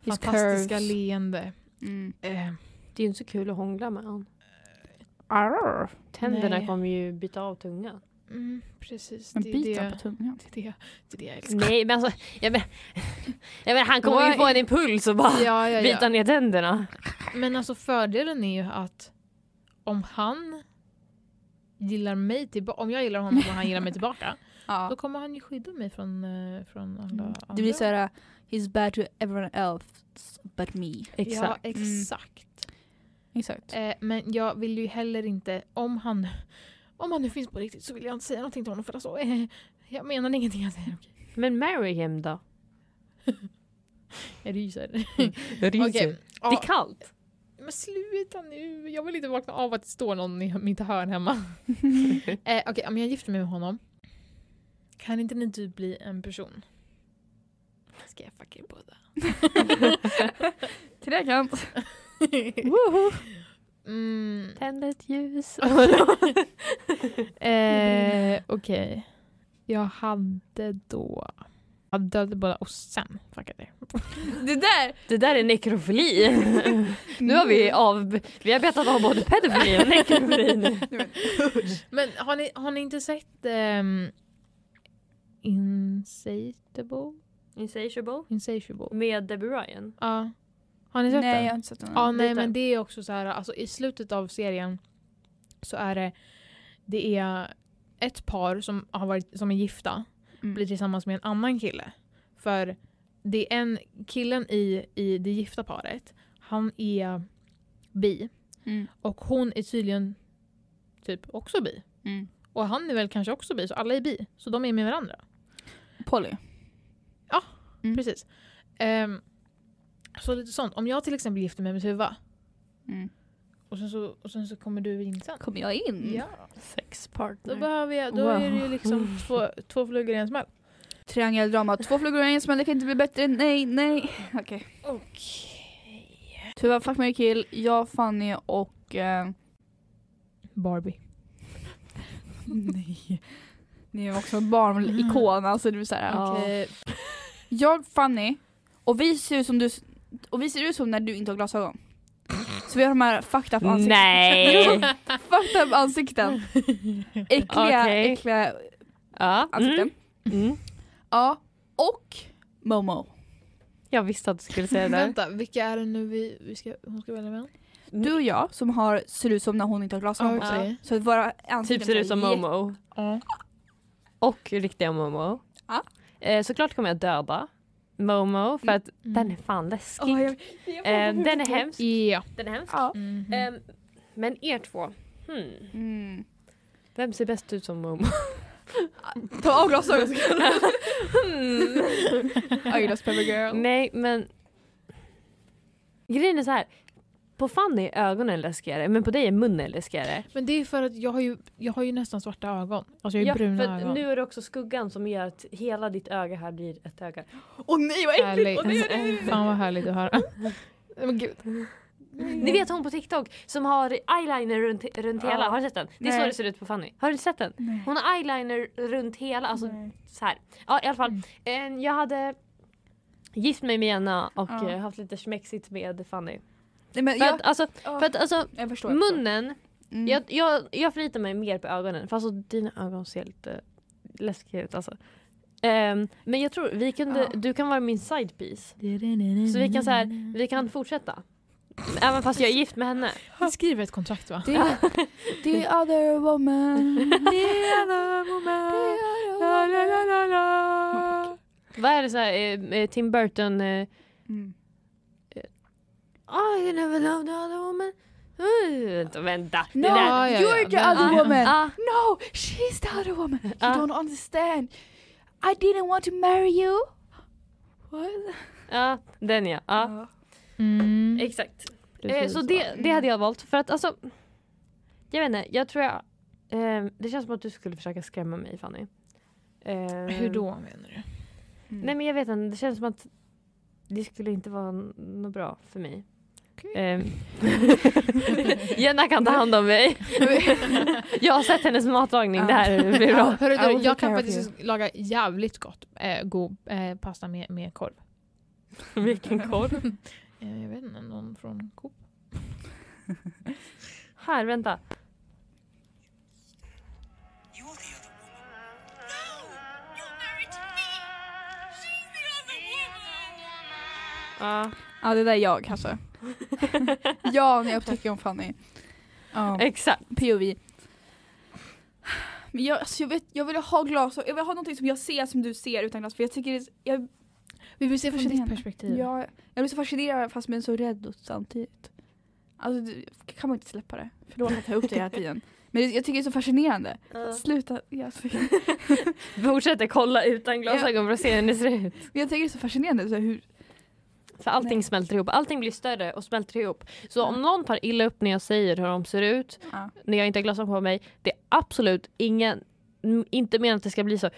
His
fantastiska
curves.
leende.
Mm.
Eh,
Det är ju inte så kul att hångla med han.
Arr.
Tänderna
Nej.
kommer ju byta av tungan.
mm, precis,
En
det är
bit
det,
på tungan.
det, är det, det är det jag älskar.
Nej men alltså, jag men, jag men, han kommer ju få en impuls och bara
Ja, ja,
bita
ja.
ner tänderna.
Men alltså fördelen är ju att om han gillar mig tillbaka, om jag gillar honom och han gillar mig tillbaka, då
Ja.
kommer han ju skydda mig från, eh, från alla
Mm.
andra.
Det blir såhär, he's bad to everyone else but me.
Ja,
Exakt.
exakt.
Exakt.
Eh, men jag vill ju heller inte, om han, om han nu finns på riktigt så vill jag inte säga någonting till honom för alltså, eh, jag menar ingenting jag säger. Okej.
Men marry him då.
Jag ryser.
Ryser.
Okej,
Det
ja.
är kallt.
Men sluta nu, jag vill inte vakna av att det står någon i mitt hörn hemma. eh, Okej, om jag gifter mig med honom, kan inte ni typ bli en person? Ska jag fucking podda?
Trekant.
Woho!
mm,
Tänd ett ljus.
eh, Okej, jag hade då... Jag dödade båda och sen fuckade jag.
Det där!
Det där är nekrofili. nu har vi
Mm.
av... Vi har betat av både pedofili och nekrofili nu.
Men har ni, har ni inte sett ehm, Insatiable?
Insatiable.
Insatiable?
Med Debbie Ryan.
Ja. Har ni sett
Nej,
den?
jag har inte sett den.
Ja, nej
lite.
men det är också så här, alltså i slutet av serien så är det, det är ett par som, har varit, som är gifta,
Mm.
blir tillsammans med en annan kille. För det är en, killen i, i det gifta paret, han är bi.
Mm.
Och hon är tydligen typ också bi.
Mm.
Och han är väl kanske också bi, så alla är bi. Så de är med varandra.
Polly. Mm.
Precis. Ehm, så lite sånt. Om jag till exempel gifter mig med Tuva
Mm.
och sen så, och sen så kommer du in sen.
Kommer jag in?
Ja. Då,
Sexpartner.
behöver jag, då
Wow.
är det ju liksom två, två flugor i en smäll.
Triangeldrama. Två flugor i en smäll, det kan inte bli bättre. Nej, nej. Okej.
Okej.
Tuva, Fuck, marry, kill. Jag, Fanny och... Eh,
Barbie.
nej. Ni är också en barnikon, alltså du är såhär...
Ja.
Okej.
Jag, Fanny, och vi ser ut som du... Och vi ser ut som när du inte har glasögon. Så vi har de här fucked up ansiktena.
Nej!
Fucked up ansikten. Äckliga,
Okej.
äckliga
ja.
ansikten.
Mm.
Ja, och Momo.
Jag visste att du skulle säga det.
Vänta, vilka är det nu vi, vi ska, hon ska välja mellan?
Du och jag som har, ser ut som när hon inte har glasögon på
Ja,
sig.
okej.
Så att våra
typ
ansikten
ser
är
ut som
jätte-
Momo.
Ja.
Och riktiga Momo.
Ja.
Eh, såklart kommer jag döda Momo för
Mm.
att den är fan läskig.
Åh, jag-
eh, den är hemsk.
Ja.
Den är hemsk.
Ja.
Mhm.
Ehm, men er två. Hmm.
Mm.
Vem ser bäst ut som Momo?
Ta av glasögonen så kan du...
Hmm.
Adidas Pepper Girl.
Nej men. Grejen är så här. På Fanny är ögonen läskigare men på dig är munnen läskigare.
Men det är för att jag har ju, jag har ju nästan svarta ögon. Alltså jag har ju bruna
för
ögon.
nu är det också skuggan som gör att hela ditt öga här blir ett öga.
Åh nej vad äckligt! Åh, nej, nej, nej.
Fan vad härligt att höra. Men gud.
Ni vet hon på TikTok som har eyeliner runt, runt
Ja.
hela, har du sett den? Det är så
Nej.
det ser ut på Fanny. Har du sett den?
Nej.
Hon har eyeliner runt hela, alltså
Mm.
så här. Ja i alla fall. Eh, Jag hade gift mig med Jenna och
Ja.
eh, haft lite smexigt med Fanny.
Nej, men
För
jag,
att alltså,
ja,
för att, alltså
jag förstår. jag förstår.
munnen,
Mm.
jag, jag, jag förlitar mig mer på ögonen för alltså dina ögon ser lite läskiga ut alltså. Ehm, men jag tror vi kunde,
Ja.
du kan vara min side piece. Så vi kan så här, vi
Mm.
kan fortsätta. Även fast jag är gift med henne.
Vi skriver ett kontrakt va?
The, the other woman.
Vad är det så här, eh, eh, Tim Burton? Eh,
Mm.
I never loved another woman. Uh, vänta, vänta.
No,
Det där.
Ja, ja, ja.
you're the
Men-
other
ja.
woman.
Ah,
No, she's the other woman. You
Ah.
don't understand. I didn't want to marry you. What?
ah, den ja. Ah,
Ja.
Mm.
Exakt. Eh, så det, det hade jag valt. För att alltså, jag vet inte, jag tror jag... Eh, det känns som att du skulle försöka skrämma mig Fanny. Eh,
Hur då menar du?
Mm.
Nej men jag vet inte, det känns som att det skulle inte vara n- något bra för mig.
Okej.
Ehm, Jenna kan ta hand om mig. jag har sett hennes matlagning, det här blir bra.
Hörru,
I
du,
will take
jag
care
kan
of
faktiskt laga jävligt gott eh, god eh, pasta med, med korv.
Vilken korv.
Eh, jag vet inte, någon från Coop.
Här, vänta.
You're the other woman. No! You're married to me! She's the other woman!
Ja,
Ja det där är jag alltså. ja när jag upptäcker om Fanny. Ja,
exakt.
POV. Men jag, alltså, jag, vet, jag vill ha glasögon, jag vill ha någonting som jag ser som du ser utan glas för jag tycker det, är- jag,
Vi vill se från ditt
Fascinerande.
typ.
perspektiv.
jag, jag blir så fascinerad fast men så rädd och samtidigt. Alltså du, kan man inte släppa det? För då har jag tagit upp det hela tiden. Men jag, jag tycker det är så fascinerande. Sluta. Ja, så-
Fortsätter kolla utan glasögon
glasögon
för att se hur det ser ut.
Men jag tycker det är så fascinerande. Så här, hur,
För allting
Nej.
smälter ihop, allting blir större och smälter ihop. Så
Ja.
om någon tar illa upp när jag säger hur de ser ut,
ja.
när jag inte har glasögon på mig, det är absolut ingen, m- inte meningen att det ska bli så.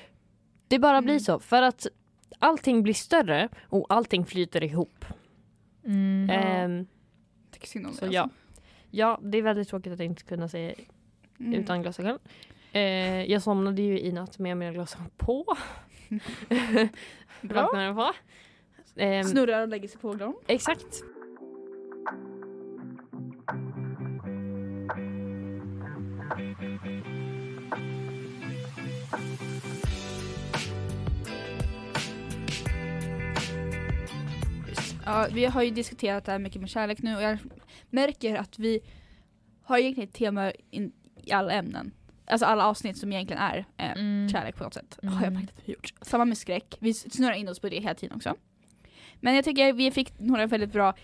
Det bara
Mm.
blir så för att allting blir större och allting flyter ihop.
Mm.
Ja.
Ehm,
Jag tycker synd om
så
det.
ja.
alltså.
Ja, det är väldigt tråkigt att inte kunna säga
Mm.
utan glasögon. Eh, jag somnade ju i natt med mina glasögon på.
Bra.
Vaknade på. Ehm,
Snurrar och lägger sig på dem.
Exakt.
Ja, vi har ju diskuterat det här mycket med kärlek nu och jag märker att vi har egentligen ett tema in, i alla ämnen. Alltså alla avsnitt som egentligen är eh,
Mm.
kärlek på något sätt.
Mm.
Har jag märkt att vi har gjort. Samma med skräck. Vi snurrar in oss på det hela tiden också. Men jag tycker vi fick några väldigt bra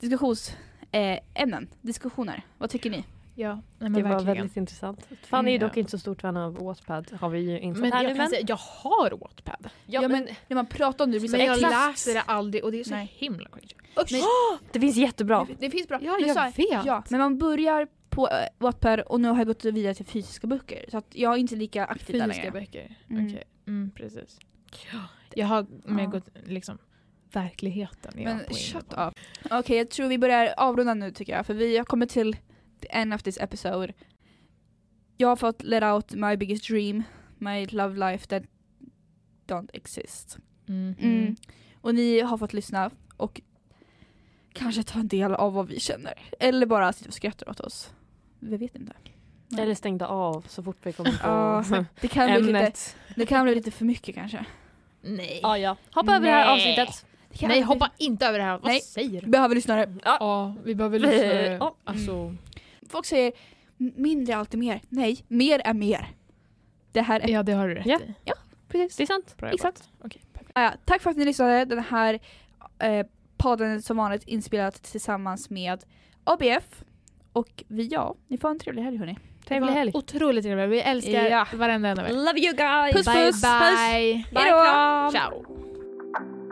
diskussionsämnen. Eh, ämnen. Diskussioner. Vad tycker ni?
Ja, nej, men
Det var
verkligen.
väldigt intressant. Fan är ju
Mm,
dock
ja.
inte så stort fan av Wattpad har vi ju insett
Men
här nu.
jag kan säga, jag har Wattpad.
ja,
Ja,
men,
När man pratar om det blir så
Men jag
exakt.
läser det aldrig och det är så
Nej.
himla cringe.
Men-
det finns jättebra.
Det finns bra.
Ja,
Men
jag
så här,
vet.
Ja, men man börjar på eh, Wattpad och nu har jag gått vidare till fysiska böcker. Så att jag är inte lika aktiv där
Fysiska
längre.
böcker.
Mm.
Okej, mm, precis. Jag har
Ja.
med gått liksom verkligheten. jag var på
Men
innan.
shut up. Okej, jag tror vi börjar avrunda nu tycker jag. För vi har kommit till the end of this episode. Jag har fått let out my biggest dream, my love life that don't exist.
Mhm.
Mm. Och ni har fått lyssna och kanske ta en del av vad vi känner. Eller bara sitta och skratta åt oss. Vi vet inte. Nej.
Eller stängda av så fort vi kommer
Ja,
på
det, kan bli lite,
ämnet.
det kan bli lite för mycket kanske.
Nej.
Ja, ja. Hoppa över det här
Nej.
avsnittet.
Det kan
Nej,
bli-
hoppa inte över det här. Vad
Nej.
säger du?
Behöver lyssnare.
Ja.
Ja, vi behöver
Vi-
lyssnare.
ja. Mm.
Alltså,
Folk säger "M- mindre är alltid mer. Nej, mer är mer. Det här är
Mm. ja, det har du rätt
Ja.
i.
precis.
Det är sant.
Bra jobbat.
Exakt.
Okej, perfekt.
Ja, tack för att ni lyssnade. Den här eh, podden är som vanligt inspelad tillsammans med ABF. Och vi, ja, ni får ha en trevlig helg hörni.
Trevlig
Det var
helg.
Otroligt trevlig. Vi älskar
Ja.
varenda en av er.
Love you guys.
Puss,
bye,
puss,
bye.
Hej då.
kram.
Ciao.